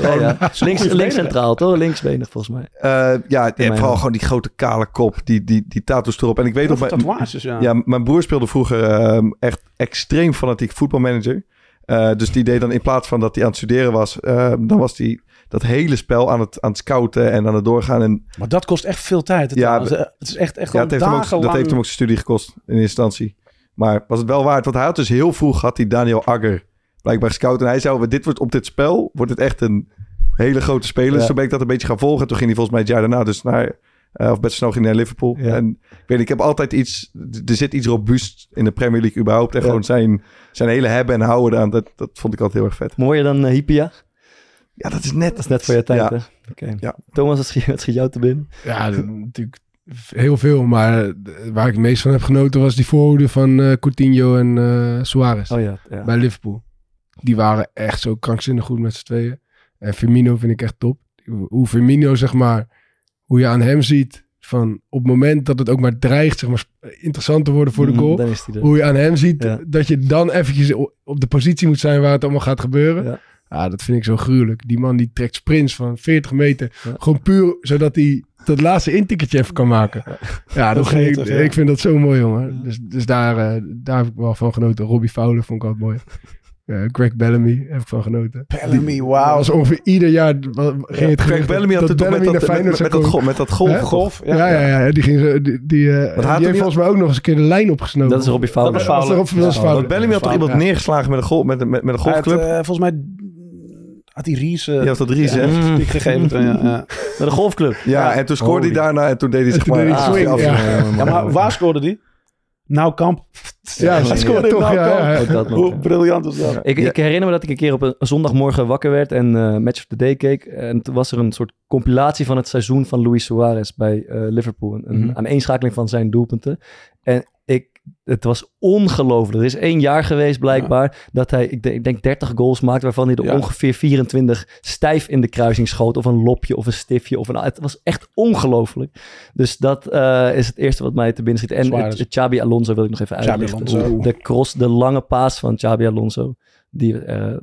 Speaker 1: ja, ja. Links, links centraal, toch? Linksbenig volgens mij.
Speaker 5: Eh, ja,
Speaker 1: mijn
Speaker 5: vooral
Speaker 1: hand.
Speaker 5: gewoon die grote kale kop, die, die, die tattoos erop. En ik weet nog,
Speaker 6: Heel veel
Speaker 5: mijn,
Speaker 6: tatoeages, ja.
Speaker 5: ja, mijn broer speelde vroeger ehm, echt extreem fanatiek voetbalmanager. Eh, dus die deed dan in plaats van dat hij aan het studeren was, ehm, dan was hij dat hele spel aan het, aan het scouten en aan het doorgaan. En
Speaker 6: Maar dat kost echt veel tijd. Het,
Speaker 5: Ja,
Speaker 6: trouwens, eh, het is echt, echt
Speaker 5: ja,
Speaker 6: gewoon
Speaker 5: het heeft hem ook,
Speaker 6: dagenlang.
Speaker 5: dat heeft hem ook zijn studie gekost in eerste instantie. Maar was het wel waard? Want hij had dus heel vroeg had hij Daniel Agger blijkbaar gescout. En hij zei, "Oh, dit wordt, op dit spel wordt het echt een hele grote speler.
Speaker 1: Ja.
Speaker 5: Dus toen ben ik dat een beetje gaan volgen. Toen ging hij volgens mij het jaar daarna dus naar... eh, of best snel ging hij naar Liverpool.
Speaker 1: Ja.
Speaker 5: En ik weet niet, ik heb altijd iets... d- Er zit iets robuust in de Premier League überhaupt. En
Speaker 1: Ja.
Speaker 5: gewoon zijn, zijn hele hebben en houden aan. Dat, dat vond ik altijd heel erg vet.
Speaker 1: Mooier dan eh, Hypia.
Speaker 5: Ja, dat is net...
Speaker 1: Dat is net voor je tijd,
Speaker 5: Ja.
Speaker 1: hè? Oké.
Speaker 5: Ja.
Speaker 1: Thomas, wat schiet, wat schiet jou te binnen?
Speaker 3: Ja, dat- natuurlijk heel veel, maar eh, waar ik het meest van heb genoten was die voorhoede van eh Coutinho en eh Suarez
Speaker 1: Oh ja, ja.
Speaker 3: bij Liverpool. Die waren echt zo krankzinnig goed met z'n tweeën. En Firmino vind ik echt top. Hoe Firmino, zeg maar, hoe je aan hem ziet van op het moment dat het ook maar dreigt, zeg maar, sp- eh, interessant te worden voor de
Speaker 1: Mhm,
Speaker 3: goal.
Speaker 1: Dan is hij er.
Speaker 3: Hoe je aan hem ziet
Speaker 1: Ja.
Speaker 3: dat je dan eventjes o- op de positie moet zijn waar het allemaal gaat gebeuren.
Speaker 1: Ja.
Speaker 3: Ja. dat vind ik zo gruwelijk. Die man die trekt sprints van 40 meter.
Speaker 1: Ja.
Speaker 3: Gewoon puur zodat hij dat laatste intikketje even kan maken. Ja, dat
Speaker 6: is
Speaker 3: vind ik,
Speaker 6: geestig, ja.
Speaker 3: ik vind dat zo mooi, jongen. Dus, dus daar, eh, daar heb ik wel van genoten. Robbie Fowler vond ik altijd mooi. eh, Greg Bellamy, heb ik van genoten.
Speaker 6: Bellamy,
Speaker 3: Dat
Speaker 6: wauw.
Speaker 3: was ongeveer ieder jaar wa- ging het
Speaker 5: Greg
Speaker 3: gerucht
Speaker 5: Bellamy had
Speaker 3: dat
Speaker 5: het toch met
Speaker 3: Bellamy
Speaker 5: dat,
Speaker 3: naar
Speaker 5: met,
Speaker 3: Feyenoord
Speaker 5: met,
Speaker 3: zou
Speaker 5: dat
Speaker 3: komen.
Speaker 5: golf, met dat golf,
Speaker 3: Hè?
Speaker 5: golf.
Speaker 3: Ja, ja, ja, die, ging zo, die, die, eh, die
Speaker 5: had
Speaker 3: heeft
Speaker 5: hem niet-
Speaker 3: volgens mij ook nog eens een keer de lijn opgesnoven.
Speaker 1: Dat is Robbie Fowler.
Speaker 5: Dat is
Speaker 3: Dat was erop- dat is
Speaker 6: Ja,
Speaker 3: fout.
Speaker 5: Want Bellamy had toch iemand
Speaker 3: Ja.
Speaker 5: neergeslagen met een, golf, met, een- met, met een
Speaker 6: Hij had,
Speaker 5: golfclub?
Speaker 6: eh, volgens mij had hij Ries eh,
Speaker 5: Die had dat Ries,
Speaker 6: ja,
Speaker 5: hè?
Speaker 1: Mm.
Speaker 6: een tik gegeven. toen, ja, ja.
Speaker 1: Naar de golfclub.
Speaker 5: Ja, en toen scoorde hij
Speaker 1: Holy.
Speaker 5: daarna en toen deed hij
Speaker 3: En
Speaker 5: zich
Speaker 3: toen
Speaker 5: maar
Speaker 3: deed hij
Speaker 5: af-
Speaker 3: swing,
Speaker 5: af-
Speaker 3: ja.
Speaker 6: Ja, maar waar scoorde die? Nou, Kamp.
Speaker 3: Ja,
Speaker 6: hij scoorde in
Speaker 3: toch,
Speaker 6: Nou
Speaker 3: ja,
Speaker 6: Kamp.
Speaker 3: ja, ja.
Speaker 1: Ook dat nog,
Speaker 6: Hoe
Speaker 1: ja.
Speaker 6: briljant is dat?
Speaker 1: Ik, ik herinner me dat ik een keer op een zondagmorgen wakker werd en eh, Match of the Day keek. En toen was er een soort compilatie van het seizoen van Luis Suarez bij eh, Liverpool. Een, een
Speaker 6: Mhm.
Speaker 1: aaneenschakeling van zijn doelpunten. En ik, het was ongelooflijk. Er is één jaar geweest blijkbaar dat hij, ik, denk- ik denk 30 goals maakte... waarvan hij er
Speaker 6: Ja.
Speaker 1: ongeveer 24 stijf in de kruising schoot. Of een lopje of een stiftje. Of een, het was echt ongelooflijk. Dus dat eh, is het eerste wat mij te binnen schiet. En
Speaker 6: Suarez.
Speaker 1: het, het Xabi Alonso wil ik nog even
Speaker 6: Xabi
Speaker 1: uitleggen.
Speaker 6: Alonso.
Speaker 1: De cross, de lange paas van Xabi Alonso. Die, eh,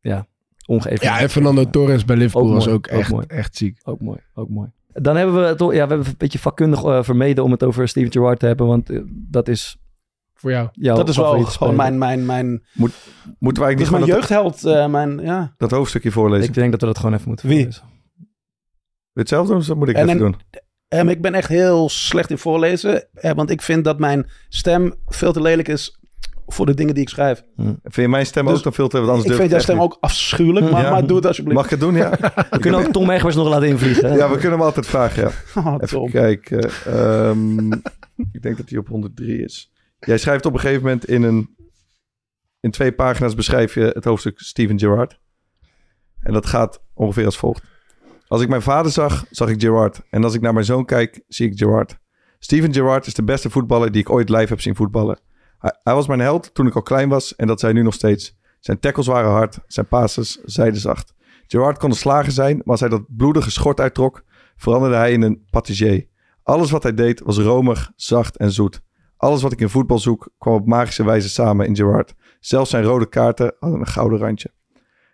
Speaker 1: ja, ongeëvenaard.
Speaker 3: Ja, en Fernando Torres bij Liverpool
Speaker 1: Ook
Speaker 3: was
Speaker 1: mooi,
Speaker 3: ook
Speaker 1: ook mooi.
Speaker 3: echt, echt ziek.
Speaker 1: Ook mooi, ook mooi. Dan hebben we het, al- ja, we hebben het een beetje vakkundig eh, vermeden om het over Steven Gerrard te hebben, want eh, dat is
Speaker 3: Voor jou.
Speaker 1: jouw
Speaker 6: Dat is wel
Speaker 1: favoriete
Speaker 6: gewoon
Speaker 1: speler.
Speaker 6: mijn, mijn, mijn,
Speaker 5: Moeten wij eigenlijk
Speaker 6: die
Speaker 5: niet
Speaker 6: is mijn
Speaker 5: gewoon dat,
Speaker 6: jeugdheld. eh, mijn, ja.
Speaker 5: dat hoofdstukje voorlezen?
Speaker 1: Ik denk dat we dat gewoon even moeten
Speaker 6: Wie?
Speaker 1: voorlezen.
Speaker 5: Hetzelfde of moet ik
Speaker 6: En
Speaker 5: even
Speaker 6: een-
Speaker 5: doen?
Speaker 6: Ehm, ik ben echt heel slecht in voorlezen. eh, want ik vind dat mijn stem veel te lelijk is voor de dingen die ik schrijf.
Speaker 5: Vind je mijn stem
Speaker 6: Dus-
Speaker 5: ook dan veel te... want Anders
Speaker 6: ik
Speaker 5: durf
Speaker 6: vind jouw
Speaker 5: het echt
Speaker 6: stem
Speaker 5: niet.
Speaker 6: ook afschuwelijk. Maar,
Speaker 5: Ja.
Speaker 6: maar doe het alsjeblieft.
Speaker 5: Mag ik het doen, ja?
Speaker 1: We kunnen ook Tom Egbers nog laten invliegen. hè?
Speaker 5: Ja, we kunnen hem altijd vragen, ja.
Speaker 6: Oh,
Speaker 5: Even
Speaker 6: Tom.
Speaker 5: kijken. ehm, ik denk dat hij op 103 is. Jij schrijft op een gegeven moment in een... In twee pagina's beschrijf je het hoofdstuk Steven Gerrard. En dat gaat ongeveer als volgt. Als ik mijn vader zag, zag ik Gerrard. En als ik naar mijn zoon kijk, zie ik Gerrard. Steven Gerrard is de beste voetballer die ik ooit live heb zien voetballen. Hij, hij was mijn held toen ik al klein was en dat zijn nu nog steeds. Zijn tackles waren hard, zijn passes zijden zacht. Gerrard kon de slager zijn, maar als hij dat bloedige schort uittrok, veranderde hij in een patissier. Alles wat hij deed was romig, zacht en zoet. Alles wat ik in voetbal zoek kwam op magische wijze samen in Gerrard. Zelfs zijn rode kaarten hadden een gouden randje.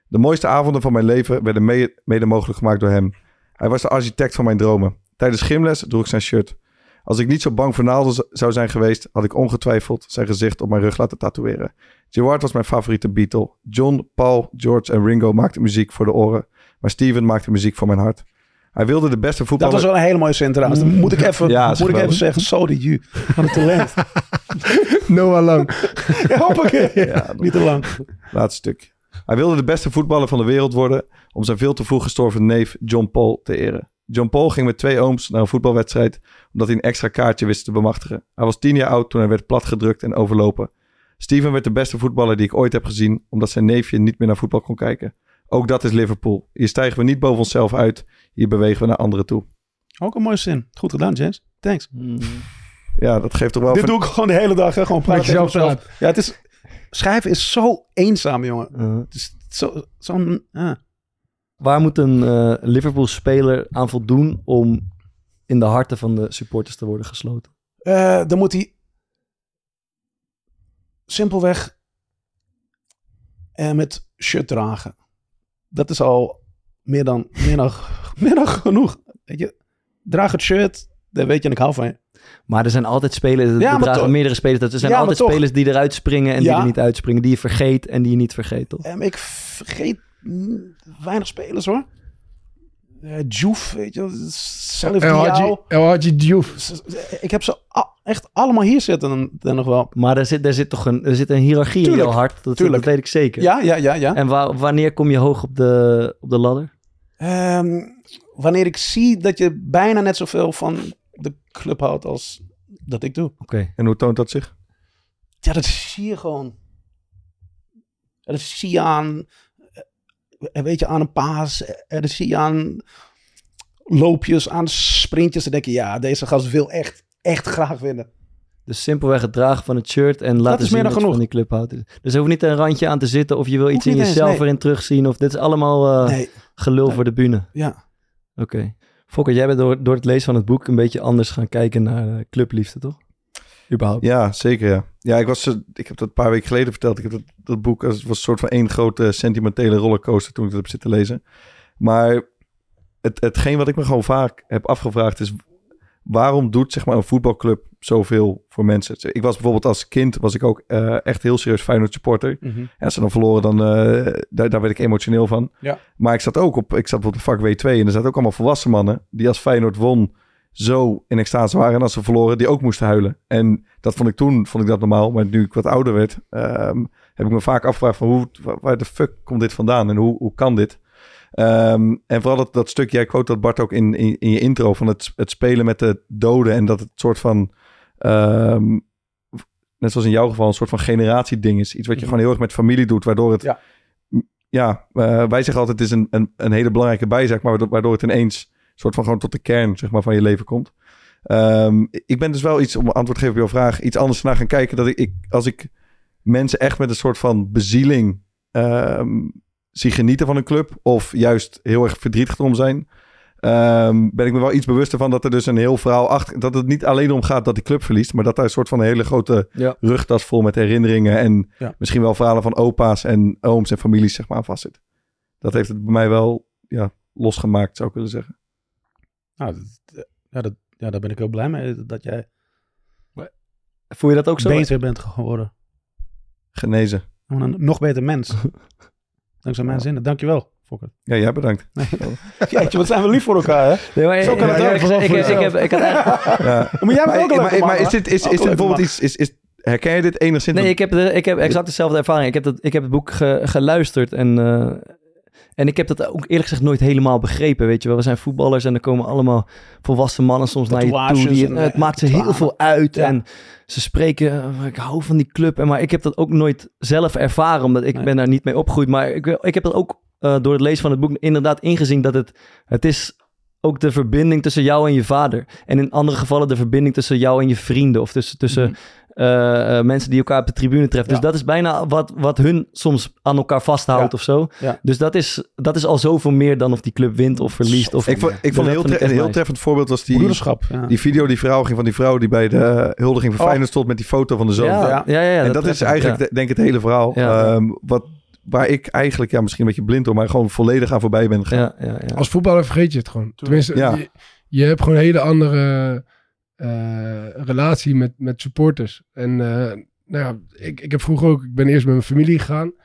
Speaker 5: De mooiste avonden van mijn leven werden mee- mede mogelijk gemaakt door hem. Hij was de architect van mijn dromen. Tijdens gymles droeg ik zijn shirt. Als ik niet zo bang voor naalden z- zou zijn geweest, had ik ongetwijfeld zijn gezicht op mijn rug laten tatoeëren. Gerard was mijn favoriete Beatle. John, Paul, George en Ringo maakten muziek voor de oren, maar Steven maakte muziek voor mijn hart. Hij wilde de beste
Speaker 6: Dat
Speaker 5: voetballer.
Speaker 6: was wel een hele mooie zin trouwens. Dat moet ik even,
Speaker 5: Mm. Ja, is
Speaker 6: moet ik even
Speaker 5: geweldig.
Speaker 6: zeggen. Zo de ju. Van het talent.
Speaker 3: Noah Lang.
Speaker 6: ja, hoppakee. Niet te lang.
Speaker 5: Laatste stuk. Hij wilde de beste voetballer van de wereld worden om zijn veel te vroeg gestorven neef John Paul te eren. John Paul ging met twee ooms naar een voetbalwedstrijd omdat hij een extra kaartje wist te bemachtigen. Hij was tien jaar oud toen hij werd platgedrukt en overlopen. Steven werd de beste voetballer die ik ooit heb gezien omdat zijn neefje niet meer naar voetbal kon kijken. Ook dat is Liverpool. Hier stijgen we niet boven onszelf uit. Hier bewegen we naar anderen toe.
Speaker 6: Ook een mooie zin. Goed gedaan, James. Thanks.
Speaker 1: Mm.
Speaker 5: Ja, dat geeft toch wel...
Speaker 6: Dit doe ik gewoon de hele dag. Hè? Gewoon praten
Speaker 3: Met jezelf
Speaker 6: tegen mezelf. Ja, het is... Schrijven is zo eenzaam, jongen.
Speaker 1: Eh,
Speaker 6: Het is zo... zo'n ah.
Speaker 1: waar moet een eh, Liverpool-speler aan voldoen om in de harten van de supporters te worden gesloten?
Speaker 6: Eh, dan moet hij... Simpelweg... eh, met shirt dragen. Dat is al meer dan, meer dan, meer dan genoeg. Weet je? Draag het shirt. Dan weet je, en ik hou van je.
Speaker 1: Maar er zijn altijd spelers, er
Speaker 6: Ja, maar
Speaker 1: dragen
Speaker 6: toch-
Speaker 1: meerdere spelers. dat- Er zijn
Speaker 6: Ja, maar
Speaker 1: altijd
Speaker 6: toch-
Speaker 1: spelers die eruit springen en die
Speaker 6: Ja.
Speaker 1: er niet uitspringen. Die je vergeet en die je niet vergeet, toch?
Speaker 6: Ehm, ik vergeet mm, weinig spelers hoor. Eh Diouf, weet je, Salif
Speaker 3: El Hadji-
Speaker 6: Diao.
Speaker 3: El Hadji Diouf.
Speaker 6: S- s- Ik heb ze a- echt allemaal hier zitten dan, dan nog wel.
Speaker 1: Maar er zit, er zit toch een, er zit een hiërarchie in
Speaker 6: Tuurlijk,
Speaker 1: heel hard. Dat,
Speaker 6: tuurlijk.
Speaker 1: dat weet ik zeker.
Speaker 6: Ja, ja, ja, ja.
Speaker 1: En wa- wanneer kom je hoog op de, op de ladder?
Speaker 6: Ehm, wanneer ik zie dat je bijna net zoveel van de club houdt als dat ik doe.
Speaker 1: Oké.
Speaker 5: En hoe toont dat zich?
Speaker 6: Ja, dat zie je gewoon. Dat zie je aan, eh, weet je, aan een paas. eh, Dat zie je aan loopjes, aan sprintjes. Dan denk je, ja, deze gast wil echt, echt graag winnen.
Speaker 1: Dus simpelweg het dragen van het shirt en laten
Speaker 6: is
Speaker 1: zien
Speaker 6: meer
Speaker 1: dat
Speaker 6: dan
Speaker 1: je
Speaker 6: genoeg.
Speaker 1: van die club houdt. Dus er hoeft niet een randje aan te zitten of je wil iets in
Speaker 6: niet eens,
Speaker 1: jezelf
Speaker 6: nee.
Speaker 1: erin terugzien. Of dit is allemaal eh,
Speaker 6: Nee,
Speaker 1: gelul voor de bühne.
Speaker 6: ja.
Speaker 1: Oké. Fokker, jij bent door, door het lezen van het boek een beetje anders gaan kijken naar eh, clubliefde, toch? Überhaupt.
Speaker 5: Ja, zeker ja. Ja, ik, was, eh, ik heb dat een paar weken geleden verteld. Ik heb dat, dat boek als, was een soort van één grote sentimentele rollercoaster toen ik dat heb zitten lezen. Maar het, hetgeen wat ik me gewoon vaak heb afgevraagd is... waarom doet zeg maar, een voetbalclub zoveel voor mensen? Ik was bijvoorbeeld als kind was ik ook eh, echt heel serieus Feyenoord supporter. En als ze dan verloren, dan, eh, daar, daar werd ik emotioneel van.
Speaker 6: Ja.
Speaker 5: Maar ik zat ook op, ik zat op de vak W2 en er zaten ook allemaal volwassen mannen die als Feyenoord won zo in extase waren. En als ze verloren, die ook moesten huilen. En dat vond ik toen, vond ik dat normaal. Maar nu ik wat ouder werd, ehm, heb ik me vaak afgevraagd van hoe, wa- waar de fuck komt dit vandaan en hoe, hoe kan dit? Ehm, en vooral dat, dat stuk, jij quote dat Bart ook in, in, in je intro van het, het spelen met de doden en dat het soort van, ehm, net zoals in jouw geval, een soort van generatieding is. Iets wat je
Speaker 6: Mhm.
Speaker 5: gewoon heel erg met familie doet, waardoor het,
Speaker 6: Ja.
Speaker 5: M- ja eh, wij zeggen altijd het is een, een, een hele belangrijke bijzaak, maar waardoor, waardoor het ineens soort van gewoon tot de kern zeg maar, van je leven komt. Ehm, ik ben dus wel iets, om antwoord te geven op jouw vraag, iets anders naar gaan kijken. Dat ik, ik als ik mensen echt met een soort van bezieling ehm, zie genieten van een club, of juist heel erg verdrietig om zijn, ehm, ben ik me wel iets bewuster van dat er dus een heel verhaal achter, dat het niet alleen om gaat dat die club verliest, maar dat daar een soort van een hele grote
Speaker 1: Ja.
Speaker 5: rugtas vol met herinneringen en
Speaker 6: Ja.
Speaker 5: misschien wel verhalen van opa's en ooms en families zeg maar aan vastzit. Dat heeft het bij mij wel ja, losgemaakt, zou ik willen zeggen.
Speaker 6: Nou, dat- eh, ja, dat, ja, daar ben ik heel blij mee dat jij
Speaker 1: Voel je dat ook zo?
Speaker 6: beter bent geworden.
Speaker 5: Genezen.
Speaker 6: Gewoon een nog beter mens. Dankzij mijn zinnen. Dankjewel, Fokker.
Speaker 5: Ja, jij bedankt.
Speaker 6: Jeetje, wat zijn we lief voor elkaar, hè?
Speaker 1: Nee, maar,
Speaker 6: Zo kan het
Speaker 1: ja,
Speaker 6: ook,
Speaker 1: ik-
Speaker 6: vooral
Speaker 1: ik-
Speaker 6: voor
Speaker 1: ik- ik
Speaker 6: jezelf.
Speaker 1: heb- ik had eigenlijk-
Speaker 5: Ja.
Speaker 6: Maar jij bent
Speaker 5: Maar,
Speaker 6: ook een leuke
Speaker 5: maar,
Speaker 6: man,
Speaker 5: maar is
Speaker 6: hoor.
Speaker 5: dit, is,
Speaker 6: Ook
Speaker 5: is dit
Speaker 6: een leuke
Speaker 5: bijvoorbeeld
Speaker 6: man.
Speaker 5: iets, is, is, herken je dit enigszins?
Speaker 1: Nee, ik heb, de- ik heb exact dezelfde ervaring. Ik heb, dat, ik heb het boek ge- geluisterd en, eh, en ik heb dat ook eerlijk gezegd nooit helemaal begrepen. Weet je wel, we zijn voetballers en er komen allemaal volwassen mannen soms naar je toe.
Speaker 6: Tatoeages
Speaker 1: Die,
Speaker 6: en,
Speaker 1: het
Speaker 6: eh,
Speaker 1: maakt ze heel
Speaker 6: tranen.
Speaker 1: veel uit
Speaker 6: Ja.
Speaker 1: en ze spreken, eh, ik hou van die club. En, maar ik heb dat ook nooit zelf ervaren, omdat ik
Speaker 6: Nee.
Speaker 1: ben daar niet mee opgegroeid. Maar ik, ik heb dat ook eh, door het lezen van het boek inderdaad ingezien dat het, het is ook de verbinding tussen jou en je vader. En in andere gevallen de verbinding tussen jou en je vrienden. Of tussen, tussen
Speaker 5: Mhm.
Speaker 1: eh, eh, mensen die elkaar op de tribune treffen.
Speaker 6: Ja.
Speaker 1: Dus dat is bijna wat, wat hun soms aan elkaar vasthoudt
Speaker 6: Ja.
Speaker 1: of zo.
Speaker 6: Ja.
Speaker 1: Dus dat is, dat is al zoveel meer dan of die club wint of verliest. Of,
Speaker 5: ik vond, ik vond
Speaker 1: dat
Speaker 5: heel
Speaker 1: vind ik
Speaker 5: tre-
Speaker 1: echt
Speaker 5: een heel
Speaker 1: nice.
Speaker 5: treffend voorbeeld was die,
Speaker 6: Broederschap. Ja.
Speaker 5: die video die vrouw ging van die vrouw die bij de eh, huldiging van
Speaker 6: Oh.
Speaker 5: Feyenoord stond met die foto van de zoon.
Speaker 1: ja, ja, ja, ja,
Speaker 5: en dat is
Speaker 1: treffend,
Speaker 5: eigenlijk
Speaker 1: ja.
Speaker 5: de- denk ik het hele verhaal.
Speaker 1: Ja.
Speaker 5: Ehm, wat, waar ik eigenlijk ja, misschien een beetje blind door, maar gewoon volledig aan voorbij ben gegaan.
Speaker 1: Ja, ja, ja.
Speaker 3: Als voetballer vergeet je het gewoon. Tenminste,
Speaker 5: Ja.
Speaker 3: je, je hebt gewoon een hele andere eh, relatie met, met supporters. En eh, nou ja, ik, ik heb vroeger ook, ik ben eerst met mijn familie gegaan. Dat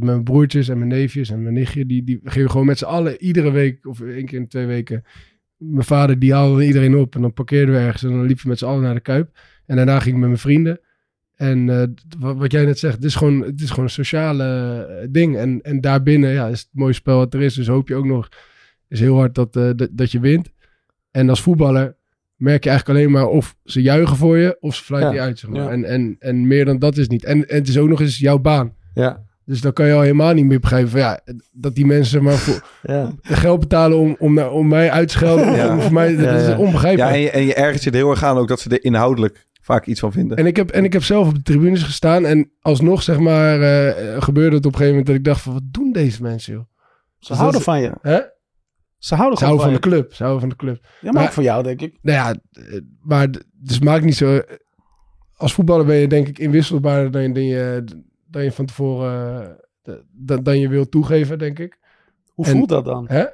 Speaker 3: was met mijn broertjes en mijn neefjes en mijn nichtje. Die, die gingen gewoon met z'n allen iedere week of één keer in de twee weken. Mijn vader die haalde iedereen op en dan parkeerden we ergens en dan liepen we met z'n allen naar de Kuip. En daarna ging ik met mijn vrienden. En eh, d- wa- wat jij net zegt, het is gewoon, het is gewoon een sociale eh, ding. En, en daarbinnen ja, is het mooiste spel wat er is. Dus hoop je ook nog is heel hard dat, eh, dat, dat je wint. En als voetballer merk je eigenlijk alleen maar of ze juichen voor je of ze fluiten
Speaker 1: Ja.
Speaker 3: je uit. Zeg maar.
Speaker 6: Ja.
Speaker 3: en, en, en meer dan dat is het niet. En, en het is ook nog eens jouw baan.
Speaker 1: Ja,
Speaker 3: Dus dan kan je al helemaal niet meer begrijpen van, ja, dat die mensen maar voor
Speaker 1: ja.
Speaker 3: geld betalen om, om, naar- om mij uit te schelden. of
Speaker 5: Ja.
Speaker 3: om voor mij, dat
Speaker 1: Ja, ja.
Speaker 3: is onbegrijpelijk.
Speaker 5: Ja, en, je, en je ergert je er heel erg aan ook dat ze er inhoudelijk vaak iets van vinden.
Speaker 3: En ik, heb, en ik heb zelf op de tribunes gestaan. En alsnog, zeg maar, eh, gebeurde het op een gegeven moment dat ik dacht van, wat doen deze mensen, joh?
Speaker 6: Ze houden van je.
Speaker 3: Hè?
Speaker 6: Ze houden
Speaker 3: Ze houden
Speaker 6: gewoon van
Speaker 3: van de
Speaker 6: je.
Speaker 3: club. Ze houden van de club.
Speaker 6: Ja, maar ook
Speaker 3: Maar-
Speaker 6: van jou, denk ik.
Speaker 3: Nou ja, eh, maar d- dus maakt niet zo... Als voetballer ben je denk ik inwisselbaarder dan je, dan je, dan je van tevoren... eh, dan, dan je wil toegeven, denk ik.
Speaker 6: Hoe
Speaker 3: En-
Speaker 6: voelt dat dan?
Speaker 3: Hè?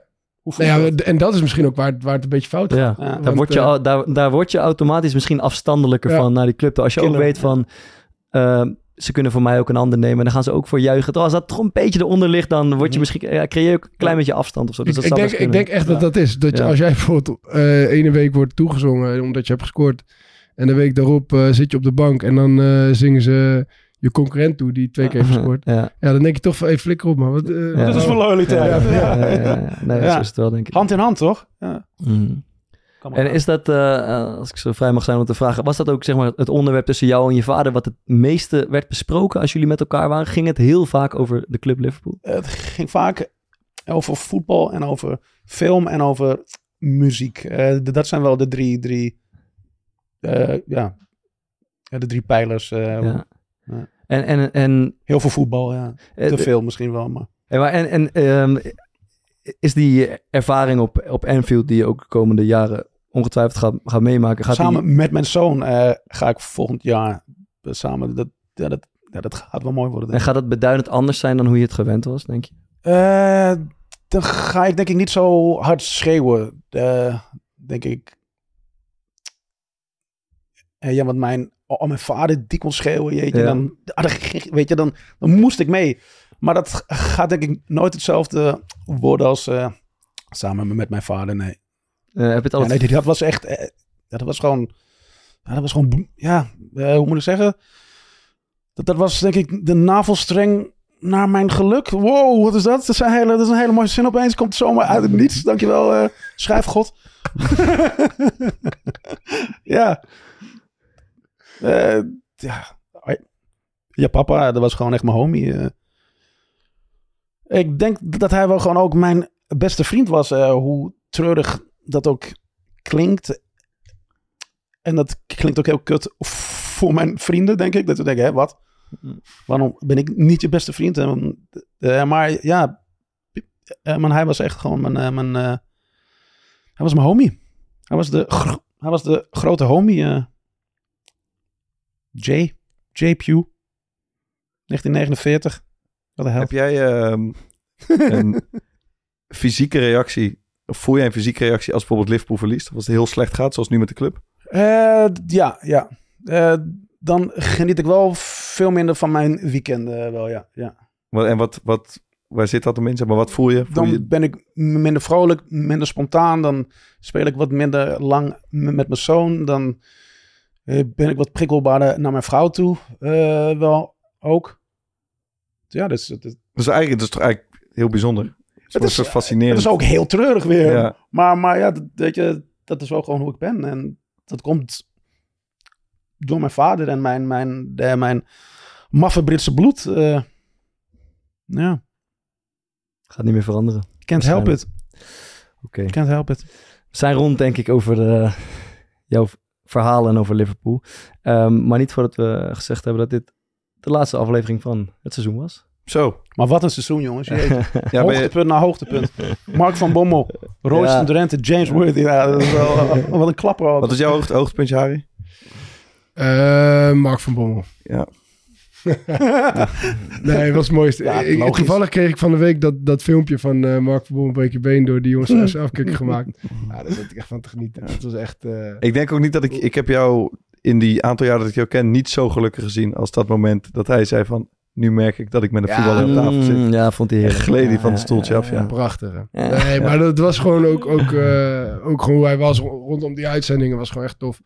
Speaker 6: Hoe voelt
Speaker 3: Nou ja,
Speaker 6: dat?
Speaker 3: en dat is misschien ook waar, het- waar het een beetje fout gaat.
Speaker 1: ja.
Speaker 6: Ja.
Speaker 1: Daar
Speaker 3: Want,
Speaker 1: word, je,
Speaker 3: eh,
Speaker 1: al- daar, daar word je automatisch misschien afstandelijker
Speaker 3: Ja.
Speaker 1: van naar die club. toe. Als je
Speaker 6: Killer,
Speaker 1: ook weet
Speaker 6: ja.
Speaker 1: van... ehm, ze kunnen voor mij ook een ander nemen. En dan gaan ze ook voor juichen. Terwijl als dat trompeetje eronder ligt, dan word je
Speaker 6: Mhm.
Speaker 1: misschien, ja, creëer je ook een klein beetje afstand of zo. Dus
Speaker 3: ik,
Speaker 1: dat
Speaker 3: ik
Speaker 1: zou
Speaker 3: denk,
Speaker 1: best
Speaker 3: ik
Speaker 1: kunnen.
Speaker 3: denk echt dat
Speaker 6: Ja.
Speaker 3: dat is. Dat je,
Speaker 1: Ja.
Speaker 3: als jij bijvoorbeeld eh ene week wordt toegezongen omdat je hebt gescoord. En de week daarop eh, zit je op de bank en dan eh, zingen ze je concurrent toe die twee keer heeft gescoord.
Speaker 1: Ja.
Speaker 3: Ja, dan denk je toch van, hey, flikker op man. Wat, eh,
Speaker 1: Ja.
Speaker 6: Dit is voor loyaliteit.
Speaker 3: Ja.
Speaker 1: Ja,
Speaker 6: Ja.
Speaker 1: ja, ja. Nee,
Speaker 6: Ja.
Speaker 1: zo is het wel, denk ik.
Speaker 6: Hand in hand, toch? Ja.
Speaker 1: Mhm.
Speaker 6: Kan maar
Speaker 1: En
Speaker 6: gaan.
Speaker 1: is dat, eh, eh, als ik zo vrij mag zijn om te vragen, was dat ook zeg maar, het onderwerp tussen jou en je vader wat het meeste werd besproken als jullie met elkaar waren? Ging het heel vaak over de club Liverpool?
Speaker 6: Het ging vaak over voetbal en over film en over muziek. Eh, d- dat zijn wel de drie, drie, eh, ja. Ja, de drie pijlers. eh,
Speaker 1: Ja.
Speaker 6: Ja.
Speaker 1: En, en, en,
Speaker 6: Heel veel voetbal, ja.
Speaker 1: eh,
Speaker 6: Te veel misschien wel, maar...
Speaker 1: en, maar- en, en ehm, is die ervaring op, op Anfield die je ook de komende jaren ongetwijfeld gaat, gaat meemaken, gaat die-
Speaker 6: samen met mijn zoon eh, ga ik volgend jaar eh, samen... Dat, ja, dat, ja, dat gaat wel mooi worden. denk
Speaker 1: en
Speaker 6: ik.
Speaker 1: gaat dat beduidend anders zijn dan hoe je het gewend was, denk je?
Speaker 6: Eh, dan ga ik denk ik niet zo hard schreeuwen. Eh, denk ik. Eh, ja, want mijn, oh, mijn vader die kon schreeuwen, jeetje.
Speaker 1: Ja.
Speaker 6: Dan, ah, dan ging- weet je, dan, dan moest ik mee. Maar dat gaat denk ik nooit hetzelfde worden als eh, samen met mijn vader, nee.
Speaker 1: Eh, heb je het
Speaker 6: Ja,
Speaker 1: altijd...
Speaker 6: nee, dat was echt. eh, ja, dat was gewoon. Ja, dat was gewoon. Ja, eh, hoe moet ik zeggen? Dat, dat was denk ik de navelstreng naar mijn geluk. Wow, wat is dat? Dat is een hele, dat is een hele mooie zin opeens. Komt zomaar uit het niets. Dankjewel, eh schrijfgod. ja. Eh, ja. Ai. Ja, papa, dat was gewoon echt mijn homie. eh. Ik denk dat hij wel gewoon ook mijn beste vriend was. eh, hoe treurig dat ook klinkt. En dat klinkt ook heel kut voor mijn vrienden, denk ik. Dat ze denken, hè, wat? Waarom ben ik niet je beste vriend? En, eh, maar ja, eh, maar hij was echt gewoon mijn... eh, mijn eh, hij was mijn homie. Hij was de, gro- hij was de grote homie. eh J. J. Pugh. 1949. Wat de hel.
Speaker 5: Heb jij ehm, een fysieke reactie? Of voel jij een fysieke reactie als bijvoorbeeld Liverpool verliest? Of als het heel slecht gaat, zoals nu met de club?
Speaker 6: Eh, d- ja, ja. Eh, dan geniet ik wel veel minder van mijn weekenden eh, wel, ja. ja.
Speaker 5: Wat- En wat, wat, waar zit dat hem in? Zeg maar, wat voel je? Voel je
Speaker 6: Dan ben ik m- minder vrolijk, minder spontaan. Dan speel ik wat minder lang m- met mijn zoon. Dan eh, ben ik wat prikkelbaarder naar mijn vrouw toe. eh, wel ook. Ja, dat is, dat, is-
Speaker 5: dus eigenlijk, dat is toch eigenlijk heel bijzonder. Het
Speaker 6: is-
Speaker 5: is, soort
Speaker 6: dat
Speaker 5: fascinerend.
Speaker 6: is ook eh, heel treurig weer.
Speaker 5: Ja.
Speaker 6: Maar, maar ja, dat, weet je, dat is wel gewoon hoe ik ben. En dat komt door mijn vader en mijn, mijn, de- mijn maffe Britse bloed. eh. ja,
Speaker 1: Gaat niet meer veranderen.
Speaker 6: can't help it.
Speaker 1: Oké.
Speaker 6: Can't help it.
Speaker 1: We zijn rond, denk ik, over eh, jouw verhalen en over Liverpool. Ehm, maar niet voordat we gezegd hebben dat dit de laatste aflevering van het seizoen was.
Speaker 5: Zo.
Speaker 6: Maar wat een seizoen, jongens. Jeetje.
Speaker 5: Ja, ben je,
Speaker 6: hoogtepunt na hoogtepunt. Mark van Bommel, Royce
Speaker 1: Ja.
Speaker 6: van Drenthe, James Worthy. Ja, dat is wel, wat een klapper ook.
Speaker 5: wat is jouw hoogte, hoogtepuntje, Harry?
Speaker 3: Eh, Mark van Bommel.
Speaker 5: Ja.
Speaker 3: Nee, dat was het mooiste.
Speaker 6: Ja,
Speaker 3: Ik-
Speaker 6: logisch.
Speaker 3: toevallig kreeg ik van de week dat, dat filmpje van eh, Mark van Bommel Breek je been door die jongens van SC Afkikken gemaakt. Ja, daar zat ik echt van te genieten. Het was echt... eh,
Speaker 5: Ik denk ook niet dat ik... Ik heb jou in die aantal jaren dat ik jou ken niet zo gelukkig gezien als dat moment dat hij zei van... Nu merk ik dat ik met een voetballer op tafel zit.
Speaker 1: Mm, ja, vond hij heerlijk.
Speaker 5: Gleed hij
Speaker 1: Ja,
Speaker 5: van het
Speaker 1: ja,
Speaker 5: stoeltje af, ja.
Speaker 3: Prachtig. hè?
Speaker 1: Ja.
Speaker 3: Nee, maar dat was gewoon ook, ook, eh, ook gewoon hoe hij was ro- rondom die uitzendingen. was gewoon echt tof.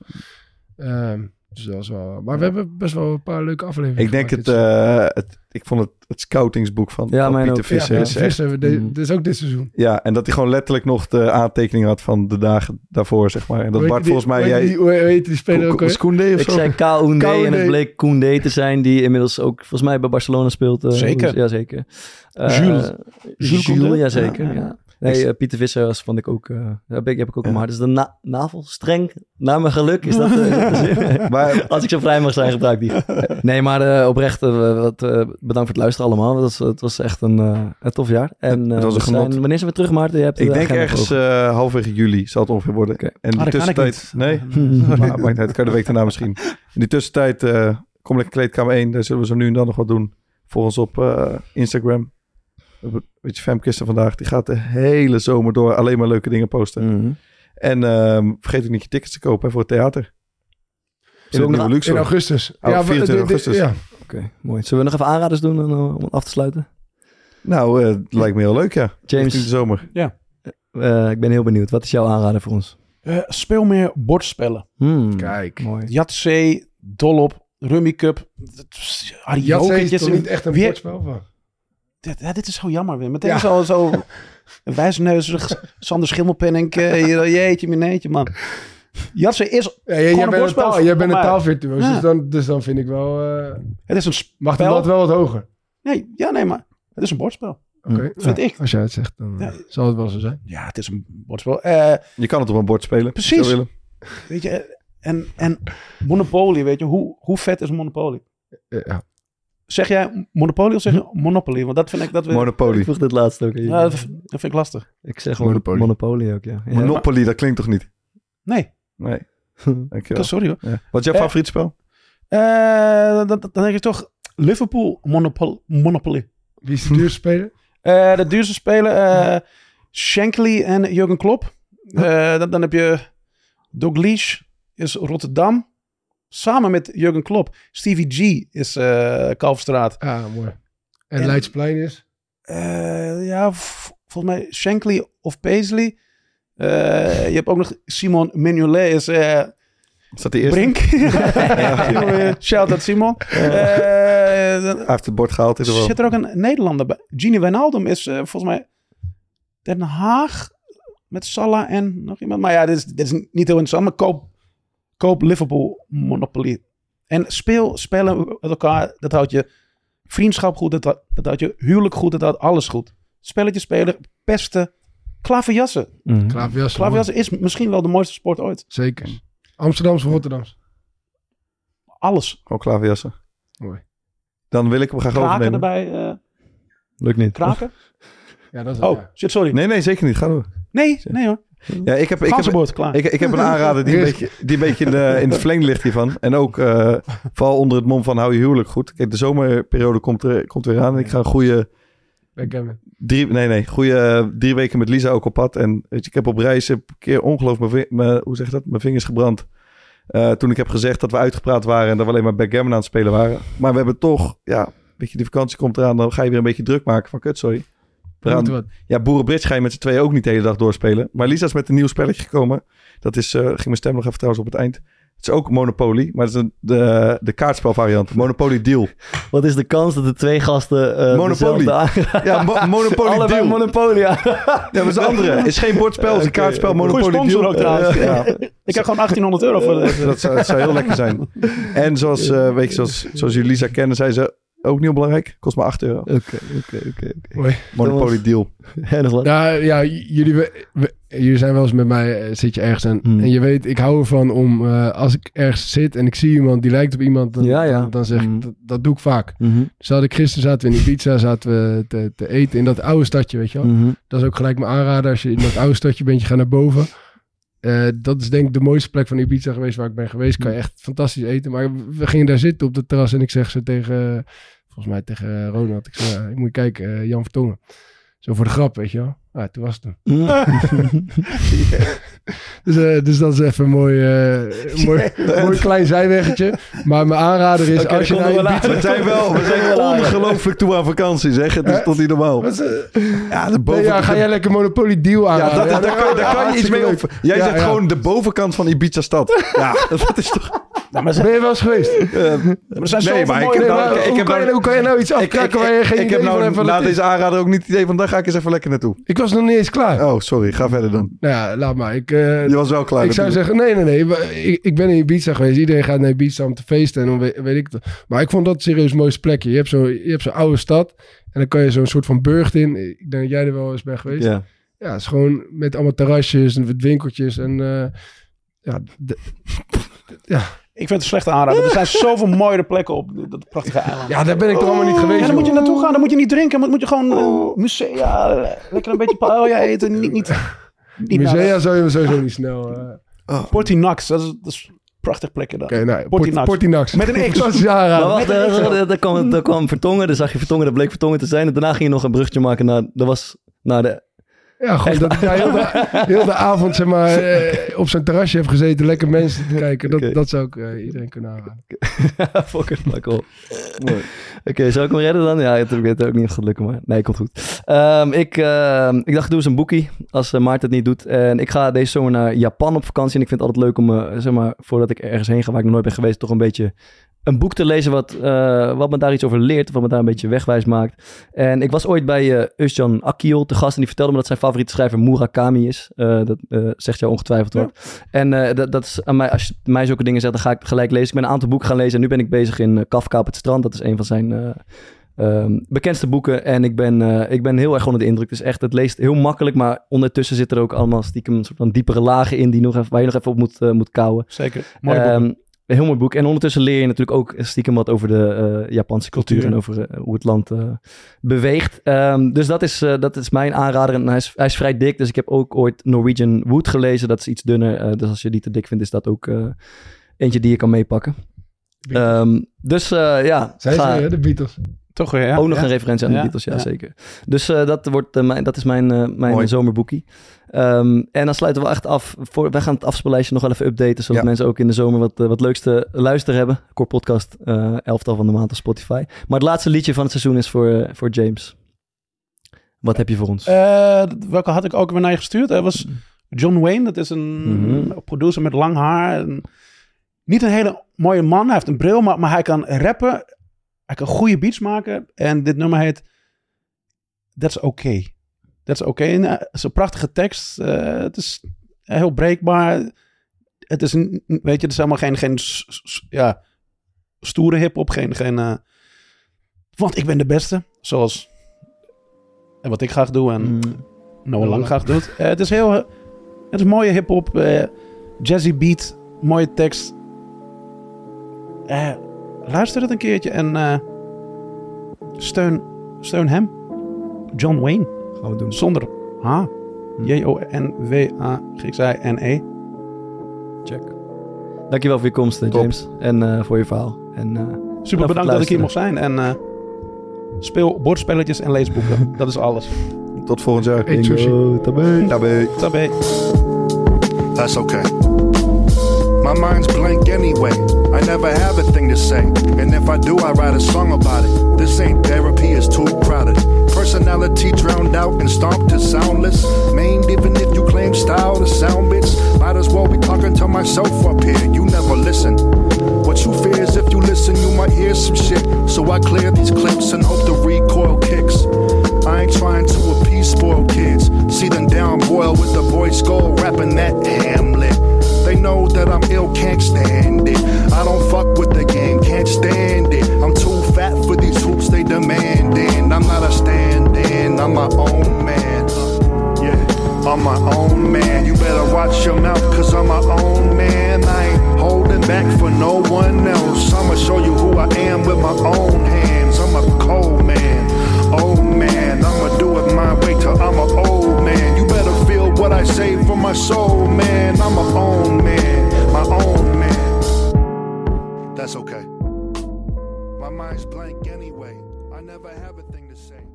Speaker 3: Ehm, dus dat was wel... Maar we hebben best wel een paar leuke afleveringen
Speaker 5: Ik denk
Speaker 3: gemaakt
Speaker 5: het,
Speaker 3: dit seizoen.
Speaker 5: eh, het... Ik vond het, het scoutingsboek van,
Speaker 1: Ja,
Speaker 5: van
Speaker 1: mijn
Speaker 5: Pieter
Speaker 1: ook.
Speaker 3: Ja,
Speaker 5: Visser.
Speaker 3: Peter
Speaker 5: is echt-
Speaker 3: Visser, we de-
Speaker 1: Mm.
Speaker 3: dit is ook dit seizoen.
Speaker 5: Ja, eh, en dat hij gewoon letterlijk nog de aantekening had van de dagen daarvoor, zeg maar. En dat
Speaker 3: Hoe heet
Speaker 5: Bart
Speaker 3: die-
Speaker 5: volgens mij...
Speaker 3: hoe heet
Speaker 5: jij
Speaker 3: Die, hoe heet die speler ook
Speaker 5: Ko- Ko-
Speaker 3: alweer?
Speaker 5: Koundé of
Speaker 1: Ik
Speaker 5: zo?
Speaker 1: zei Koundé en
Speaker 3: Koundé.
Speaker 1: het bleek Koundé te zijn, die inmiddels ook volgens mij bij Barcelona speelt. eh,
Speaker 6: Zeker.
Speaker 1: dus- ja, zeker. Eh,
Speaker 6: Jules.
Speaker 1: Jules,
Speaker 6: Koundé?
Speaker 1: ja, zeker. Ja,
Speaker 6: Ja, ja.
Speaker 1: Nee,
Speaker 5: Ik-
Speaker 1: eh, Pieter Visser was, vond ik ook, eh daar ben ik, heb ik ook
Speaker 5: Ja.
Speaker 1: een hart. Dus de na navelstreng, naar mijn geluk, is dat... eh,
Speaker 5: Maar
Speaker 1: Als ik zo vrij mag zijn, gebruik die. Nee, maar eh, oprecht, eh, wat, eh, bedankt voor het luisteren allemaal. Het was, het was echt een, eh, een tof jaar. En, eh,
Speaker 5: Het was
Speaker 1: we
Speaker 5: een genot.
Speaker 1: zijn- wanneer zijn we terug, Maarten? Je hebt
Speaker 5: ik
Speaker 1: de
Speaker 5: denk
Speaker 1: agenda
Speaker 5: ergens
Speaker 1: voor
Speaker 5: eh, halverwege juli zal het ongeveer worden.
Speaker 1: Oké.
Speaker 5: En in
Speaker 6: Ah,
Speaker 5: die
Speaker 6: dat kan ik
Speaker 5: tussentijd...
Speaker 6: niet.
Speaker 5: Nee?
Speaker 1: ogen.
Speaker 5: Maar maakt niet uit, kan de week daarna misschien. In die tussentijd eh, kom lekker kleedkamer 1. Daar zullen we zo nu en dan nog wat doen. Volg ons op eh, Instagram. We hebben een beetje Femkisten vandaag. Die gaat de hele zomer door alleen maar leuke dingen posten.
Speaker 1: Mhm.
Speaker 5: En ehm, vergeet ook niet je tickets te kopen hè, voor het theater. In
Speaker 1: we
Speaker 5: het
Speaker 1: nog
Speaker 5: nieuwe
Speaker 1: aan-
Speaker 5: Luxor.
Speaker 3: In augustus.
Speaker 5: Oh,
Speaker 3: we-
Speaker 5: 24
Speaker 3: de- de-
Speaker 5: augustus.
Speaker 3: Ja.
Speaker 6: Mm.
Speaker 1: Oké, mooi. Zullen we nog even aanraders doen eh, om af te sluiten?
Speaker 5: Nou, eh, het lijkt me heel leuk, ja.
Speaker 1: James.
Speaker 5: Richting de zomer.
Speaker 1: Eh, ik ben heel benieuwd. Wat is jouw aanrader voor ons?
Speaker 6: Eh, speel meer bordspellen.
Speaker 1: Hmm,
Speaker 3: Kijk.
Speaker 1: Mooi.
Speaker 6: Jatzee, Dollop, Rummy Cup.
Speaker 3: Jatse is
Speaker 6: Ariokertjes.
Speaker 3: toch niet echt een
Speaker 6: Wie-
Speaker 3: bordspel van?
Speaker 6: Dit, ja, dit is zo jammer weer. Meteen
Speaker 3: Ja.
Speaker 6: zo, zo wijsneuzerig Sander Schimmelpennink. eh, hier, jeetje, mineetje, man. Jatsen is...
Speaker 3: Ja, jij,
Speaker 6: Gewoon
Speaker 3: jij
Speaker 6: een
Speaker 3: bent een
Speaker 6: bordspel
Speaker 3: taal, jij bent een
Speaker 6: voor mij.
Speaker 3: taalvirtuoos,
Speaker 6: Ja.
Speaker 3: dus, dan, dus dan vind ik wel... eh,
Speaker 6: Het is een spel.
Speaker 3: mag de lat wel wat hoger.
Speaker 6: Nee, ja, nee, maar het is een bordspel.
Speaker 3: Oké.
Speaker 6: Mm. Vind ik.
Speaker 3: Als jij het zegt, dan eh,
Speaker 6: Ja.
Speaker 3: zal het wel zo zijn.
Speaker 6: Ja, het is een bordspel. Eh,
Speaker 5: Je kan het op een bord spelen.
Speaker 6: Precies.
Speaker 5: Zou je willen.
Speaker 6: weet je, eh, en, en Monopoly, weet je. Hoe, hoe vet is Monopoly?
Speaker 3: Eh, Ja.
Speaker 6: Zeg jij Monopoly of zeg je Monopoly? Want dat vind ik... Dat, we,
Speaker 1: Ik
Speaker 5: Hm? Monopoly.
Speaker 1: vroeg dit laatst ook. aan je.
Speaker 6: Ja, dat vind dat vind ik lastig.
Speaker 1: ik zeg gewoon
Speaker 3: Monopoly.
Speaker 1: Monopoly, ook, ja. ja.
Speaker 5: Monopoly, dat klinkt toch niet?
Speaker 6: Nee,
Speaker 5: Nee. Dankjewel.
Speaker 6: sorry hoor.
Speaker 5: Ja. Wat is jouw
Speaker 6: Eh,
Speaker 5: favoriet spel?
Speaker 6: Eh, dan, dan- dan denk ik toch Liverpool Monopol- Monopoly.
Speaker 3: Wie is de duurste speler?
Speaker 6: Eh, de duurste speler, eh Shankly en Jurgen Klopp. Eh, dan, dan heb je Douglas is Rotterdam. Samen met Jurgen Klopp. Stevie G is eh Kalfstraat.
Speaker 3: Ah, mooi. En,
Speaker 6: En-
Speaker 3: Leidsplein is?
Speaker 6: Eh, ja, v- volgens mij Shankly of Paisley. Eh, je hebt ook nog Simon Mignolet is eh,
Speaker 5: Is dat de eerste?
Speaker 6: Brink. Shout out Simon. Eh, dan-
Speaker 5: Hij heeft het bord gehaald in ieder geval.
Speaker 6: zit er ook een Nederlander bij. Gini Wijnaldum is eh, volgens mij Den Haag met Salah en nog iemand. Maar ja, dit is, dit is niet heel interessant. Maar koop, koop Liverpool Monopoly. En speel, spelen met elkaar, dat houdt je vriendschap goed. Dat, dat houdt je huwelijk goed. Dat houdt alles goed. Spelletjes spelen, pesten, klaverjassen.
Speaker 1: Mhm.
Speaker 3: Klaverjassen.
Speaker 6: Klaverjassen is misschien wel de mooiste sport ooit.
Speaker 3: Zeker. Amsterdams of Rotterdams?
Speaker 6: Alles.
Speaker 5: Gewoon klaverjassen.
Speaker 3: Mooi.
Speaker 5: Dan wil ik hem graag
Speaker 6: Kraken
Speaker 5: overnemen.
Speaker 6: erbij. eh,
Speaker 1: Lukt niet.
Speaker 6: kraken?
Speaker 3: Ja, dat is het,
Speaker 6: Oh,
Speaker 3: ja.
Speaker 6: shit, sorry.
Speaker 5: Nee, nee, zeker niet. Ga door.
Speaker 6: Nee, nee hoor.
Speaker 5: Ja, ik heb, ik heb,
Speaker 6: Ganzenboord, klaar.
Speaker 5: ik, ik heb een aanrader die een beetje, die een beetje in, de- in het verlengde ligt hiervan. En ook eh, vooral onder het mom van hou je huwelijk goed. Kijk, de zomerperiode komt, er, komt weer aan. En ik ga een goede
Speaker 3: Backgammon.
Speaker 5: drie, nee, nee, goede eh, drie weken met Lisa ook op pad. En weet je, ik heb op reis een keer ongelooflijk mijn, vi- mijn, hoe zeg je dat? mijn vingers gebrand. Eh, toen ik heb gezegd dat we uitgepraat waren en dat we alleen maar backgammon aan het spelen waren. Maar we hebben toch, ja, weet je, die vakantie komt eraan. Dan ga je weer een beetje druk maken van kut, sorry. We gaan-
Speaker 3: Moet wat.
Speaker 5: ja, Boerenbridge ga je met z'n tweeën ook niet de hele dag doorspelen. Maar Lisa is met een nieuw spelletje gekomen. Dat is, eh, ging mijn stem nog even trouwens op het eind. Het is ook Monopoly, maar het is een, de, de kaartspelvariant. Monopoly Deal.
Speaker 1: Wat is de kans dat de twee gasten eh
Speaker 5: Monopoly.
Speaker 1: dezelfde aan-
Speaker 5: Ja, mo- Monopoly
Speaker 1: Allebei
Speaker 5: Deal.
Speaker 1: Monopoly. ja.
Speaker 5: ja, dat is een andere. Het is geen bordspel, het is een kaartspel. Monopoly
Speaker 6: Goeie sponsor
Speaker 5: Deal.
Speaker 6: ook trouwens.
Speaker 5: Eh, ja.
Speaker 6: Ik heb gewoon 1800 euro voor
Speaker 5: Dat,
Speaker 6: deze.
Speaker 5: zou, dat zou heel lekker zijn. En zoals, eh, weet je, zoals, zoals jullie Lisa kennen, zei ze ook niet onbelangrijk. Kost maar 8 euro.
Speaker 1: Oké, oké, oké. oké.
Speaker 3: Mooi.
Speaker 5: Monopoly Deal.
Speaker 1: En nog wat?
Speaker 3: Ja, Nou, ja j- jullie, we- we- jullie zijn wel eens met mij, eh, zit je ergens en,
Speaker 1: Hmm.
Speaker 3: en je weet, ik hou ervan om, eh, als ik ergens zit en ik zie iemand die lijkt op iemand, dan,
Speaker 1: Ja, ja.
Speaker 3: dan, dan zeg
Speaker 1: Hmm.
Speaker 3: ik, dat, dat doe ik vaak.
Speaker 1: Mhm,
Speaker 3: Dus had ik gisteren zaten we in Ibiza, zaten we te, te eten in dat oude stadje, weet je wel.
Speaker 1: mhm.
Speaker 3: Dat is ook gelijk mijn aanrader, als je in dat oude stadje bent, je gaat naar boven. Eh, dat is denk ik de mooiste plek van Ibiza geweest waar ik ben geweest. Kan je echt fantastisch eten. Maar we gingen daar zitten op de terras en ik zeg ze tegen, eh, volgens mij tegen Ronald, ik zeg, ik moet je kijken, eh, Jan Vertongen. Zo voor de grap, weet je wel. Ah, toen was het hem.
Speaker 1: Mhm.
Speaker 3: Dus, eh, dus dat is even een mooi, eh, een mooi, een mooi klein zijweggetje. Maar mijn aanrader is,
Speaker 1: Oké,
Speaker 3: als je
Speaker 1: dat
Speaker 3: naar
Speaker 1: konden we later.
Speaker 3: Ibiza...
Speaker 5: We zijn wel we zijn ongelooflijk toe aan vakantie, zeg. Het is toch niet normaal.
Speaker 3: Wat is, eh,
Speaker 5: Ja, de
Speaker 3: nee,
Speaker 5: boven...
Speaker 3: ja, ga jij lekker Monopoly deal aan?
Speaker 5: Ja, dat, dat- daar, kan, daar kan je iets mee op. Jij
Speaker 3: Ja,
Speaker 5: zegt
Speaker 3: ja.
Speaker 5: gewoon de bovenkant van Ibiza-stad. Ja, dat is toch...
Speaker 6: Nou, maar ze-
Speaker 3: Ben je wel eens geweest?
Speaker 5: eh,
Speaker 6: maar er zijn
Speaker 5: Nee,
Speaker 6: zoveel
Speaker 5: maar ik
Speaker 6: mooie
Speaker 5: heb
Speaker 3: Nee,
Speaker 5: nou-
Speaker 3: maar
Speaker 5: ik- ik
Speaker 3: hoe,
Speaker 5: heb
Speaker 3: kan je,
Speaker 5: nou-
Speaker 3: hoe kan je nou iets
Speaker 5: ik, ik,
Speaker 3: afkraken waar je geen
Speaker 5: ik
Speaker 3: idee
Speaker 5: heb
Speaker 3: van
Speaker 5: nou
Speaker 3: hebt wat
Speaker 5: na
Speaker 3: het is?
Speaker 5: deze aanrader ook niet het idee van... daar ga ik eens even lekker naartoe.
Speaker 3: Ik was nog niet eens klaar.
Speaker 5: Oh, sorry. Ga verder dan.
Speaker 3: Nou ja, laat maar. Ik, eh,
Speaker 5: Je was wel klaar.
Speaker 3: ik zou
Speaker 5: natuurlijk.
Speaker 3: zeggen, nee, nee, nee. maar Ik, ik ben in Ibiza geweest. Iedereen gaat naar Ibiza om te feesten en dan weet, weet ik het. Maar ik vond dat serieus een mooiste plekje. Je hebt zo- je hebt zo'n oude stad en dan kan je zo'n soort van burcht in. Ik denk dat jij er wel eens bent geweest.
Speaker 5: Ja.
Speaker 3: Ja, het is gewoon met allemaal terrasjes en met winkeltjes en eh, ja, de-
Speaker 6: Ik vind het een slechte aanrader. Er zijn zoveel mooiere plekken op dat prachtige eiland.
Speaker 3: ja, daar ben ik toch allemaal
Speaker 5: Oh.
Speaker 3: niet
Speaker 6: Ja,
Speaker 3: geweest.
Speaker 6: dan moet je
Speaker 3: joh.
Speaker 6: naartoe gaan. Dan moet je niet drinken. Dan moet je gewoon eh, musea, eh, lekker een beetje paella eten. Niet, niet, niet
Speaker 3: Musea zou je sowieso niet snel. eh, Oké,
Speaker 6: naar- Portinax, dat is, dat is een prachtig plekje daar.
Speaker 3: nou,
Speaker 6: Portinax.
Speaker 3: Port- Portinax.
Speaker 6: Met een X.
Speaker 3: Dat is ja,
Speaker 1: Maar
Speaker 3: raar.
Speaker 1: wacht,
Speaker 6: Met een
Speaker 1: eh,
Speaker 6: Excel.
Speaker 1: eh, daar kwam, daar kwam Vertongen, daar zag je Vertongen, dat bleek Vertongen te zijn. En daarna ging je nog een bruggetje maken naar, dat was naar de...
Speaker 3: Ja, gewoon dat ik daar heel de, heel de avond zeg maar, eh, op zijn terrasje heb gezeten, lekker mensen te kijken. Dat,
Speaker 1: Oké.
Speaker 3: dat zou ik eh, iedereen kunnen aanraden.
Speaker 1: Fuck it, Michael. Mooi. Oké, zou ik hem redden dan? Ja, het ik weet het ook niet echt gelukkig, maar nee, komt goed. Ehm, ik, ehm, ik dacht, ik doe eens een boekie, als eh, Maarten het niet doet. En ik ga deze zomer naar Japan op vakantie. En ik vind het altijd leuk om, eh, zeg maar, voordat ik ergens heen ga waar ik nog nooit ben geweest, toch een beetje een boek te lezen wat, eh, wat me daar iets over leert. Wat me daar een beetje wegwijs maakt. En ik was ooit bij eh Özcan Akil te gast. En die vertelde me dat zijn favoriete schrijver Murakami is. Eh, dat eh, zegt jou ongetwijfeld hoor. En eh, dat, dat is aan mij, als je mij zulke dingen zegt, dan ga ik gelijk lezen. Ik ben een aantal boeken gaan lezen en nu ben ik bezig in eh, Kafka op het strand. Dat is een van zijn eh, ehm, bekendste boeken. En ik ben, eh, ik ben heel erg onder de indruk. Dus echt, het leest heel makkelijk, maar ondertussen zitten er ook allemaal stiekem een soort van diepere lagen in die nog even, waar je nog even op moet, eh, moet kouwen.
Speaker 6: Zeker. Eh, Mooi boek.
Speaker 1: Ehm, een heel mooi boek. En ondertussen leer je natuurlijk ook stiekem wat over de eh, Japanse cultuur,
Speaker 6: Cultuur.
Speaker 1: en over eh, hoe het land eh, beweegt. Ehm, dus dat is, eh, dat is mijn aanrader. En hij is, hij is vrij dik, dus ik heb ook ooit Norwegian Wood gelezen. Dat is iets dunner, eh, dus als je die te dik vindt, is dat ook eh, eentje die je kan meepakken. Ehm, dus eh, ja,
Speaker 3: Zijn ze
Speaker 1: ga-
Speaker 3: weer, hè, de Beatles?
Speaker 6: Toch weer, ja.
Speaker 1: ook nog
Speaker 6: ja.
Speaker 1: een referentie aan de
Speaker 6: Ja,
Speaker 1: Beatles, ja,
Speaker 6: ja.
Speaker 1: zeker. Dus eh, dat, wordt, eh, mijn, dat is mijn, eh,
Speaker 5: Mooi.
Speaker 1: mijn zomerboekie. Ehm, en dan sluiten we echt af. Voor, wij gaan het afspeellijstje nog wel even updaten, zodat
Speaker 5: Ja.
Speaker 1: mensen ook in de zomer wat, eh, wat leuks te luisteren hebben. Core podcast, eh, elftal van de maand op Spotify. Maar het laatste liedje van het seizoen is voor, eh, voor James. Wat heb je voor ons?
Speaker 6: Eh, dat- welke had ik ook weer naar je gestuurd? Dat was John Wayne. Dat is een
Speaker 1: Mhm.
Speaker 6: producer met lang haar. En niet een hele mooie man. Hij heeft een bril, maar, maar hij kan rappen. Hij kan goede beats maken. En dit nummer heet That's Okay. That's Okay. En, eh, het is een prachtige tekst. Eh, het is heel breekbaar. Het is, een, weet je, het is helemaal geen, geen s- s- ja, stoere hip-hop. Geen, geen, eh, want ik ben de beste. Zoals. En wat ik graag doe. En
Speaker 1: Mm.
Speaker 6: Noah Lang graag doet. Eh, het is heel... eh, Het is mooie hip-hop, eh, jazzy beat, mooie tekst. Eh, luister het een keertje en eh, steun, steun hem. John Wayne,
Speaker 1: Gaan we doen.
Speaker 6: zonder H. J-O-N-W-A-G-I-N-E.
Speaker 1: Check. Dankjewel voor je komst, eh,
Speaker 5: Top.
Speaker 1: James. En eh, voor je verhaal. En, eh,
Speaker 6: Super bedankt dat ik hier
Speaker 1: luisteren.
Speaker 6: mocht zijn. En eh, speel bordspelletjes en lees boeken. dat is alles.
Speaker 5: Tot volgend jaar.
Speaker 3: Eet sushi.
Speaker 1: Yo, tabé.
Speaker 5: Tabé.
Speaker 6: Tabé.
Speaker 7: That's okay. My mind's blank anyway. I never have a thing to say. And if I do, I write a song about it. This ain't therapy, it's too crowded. Personality drowned out and stomped to soundless. Maimed, even if you claim style to sound bits. Might as well be talking to myself up here. You never listen. What you fear is if you listen, you might hear some shit. So I clear these clips and hope the recoil kicks. I ain't trying to appease spoiled kids. See them down boil with the boy skull rapping that Hamlet. They know that I'm ill, can't stand it. I don't fuck with the game, can't stand it. I'm too fat for these hoops they demanding. I'm not a stand in, I'm my own man. Uh, Yeah, I'm my own man. You better watch your mouth, cause I'm my own man. I ain't holding back for no one else. I'ma show you who I am with my own hands. I'm a cold man, old man. I'ma do it my way till I'm an old man. You better feel what I say from my soul, man. I'm my own man, my own man. That's okay. My mind's blank anyway. I never have a thing to say.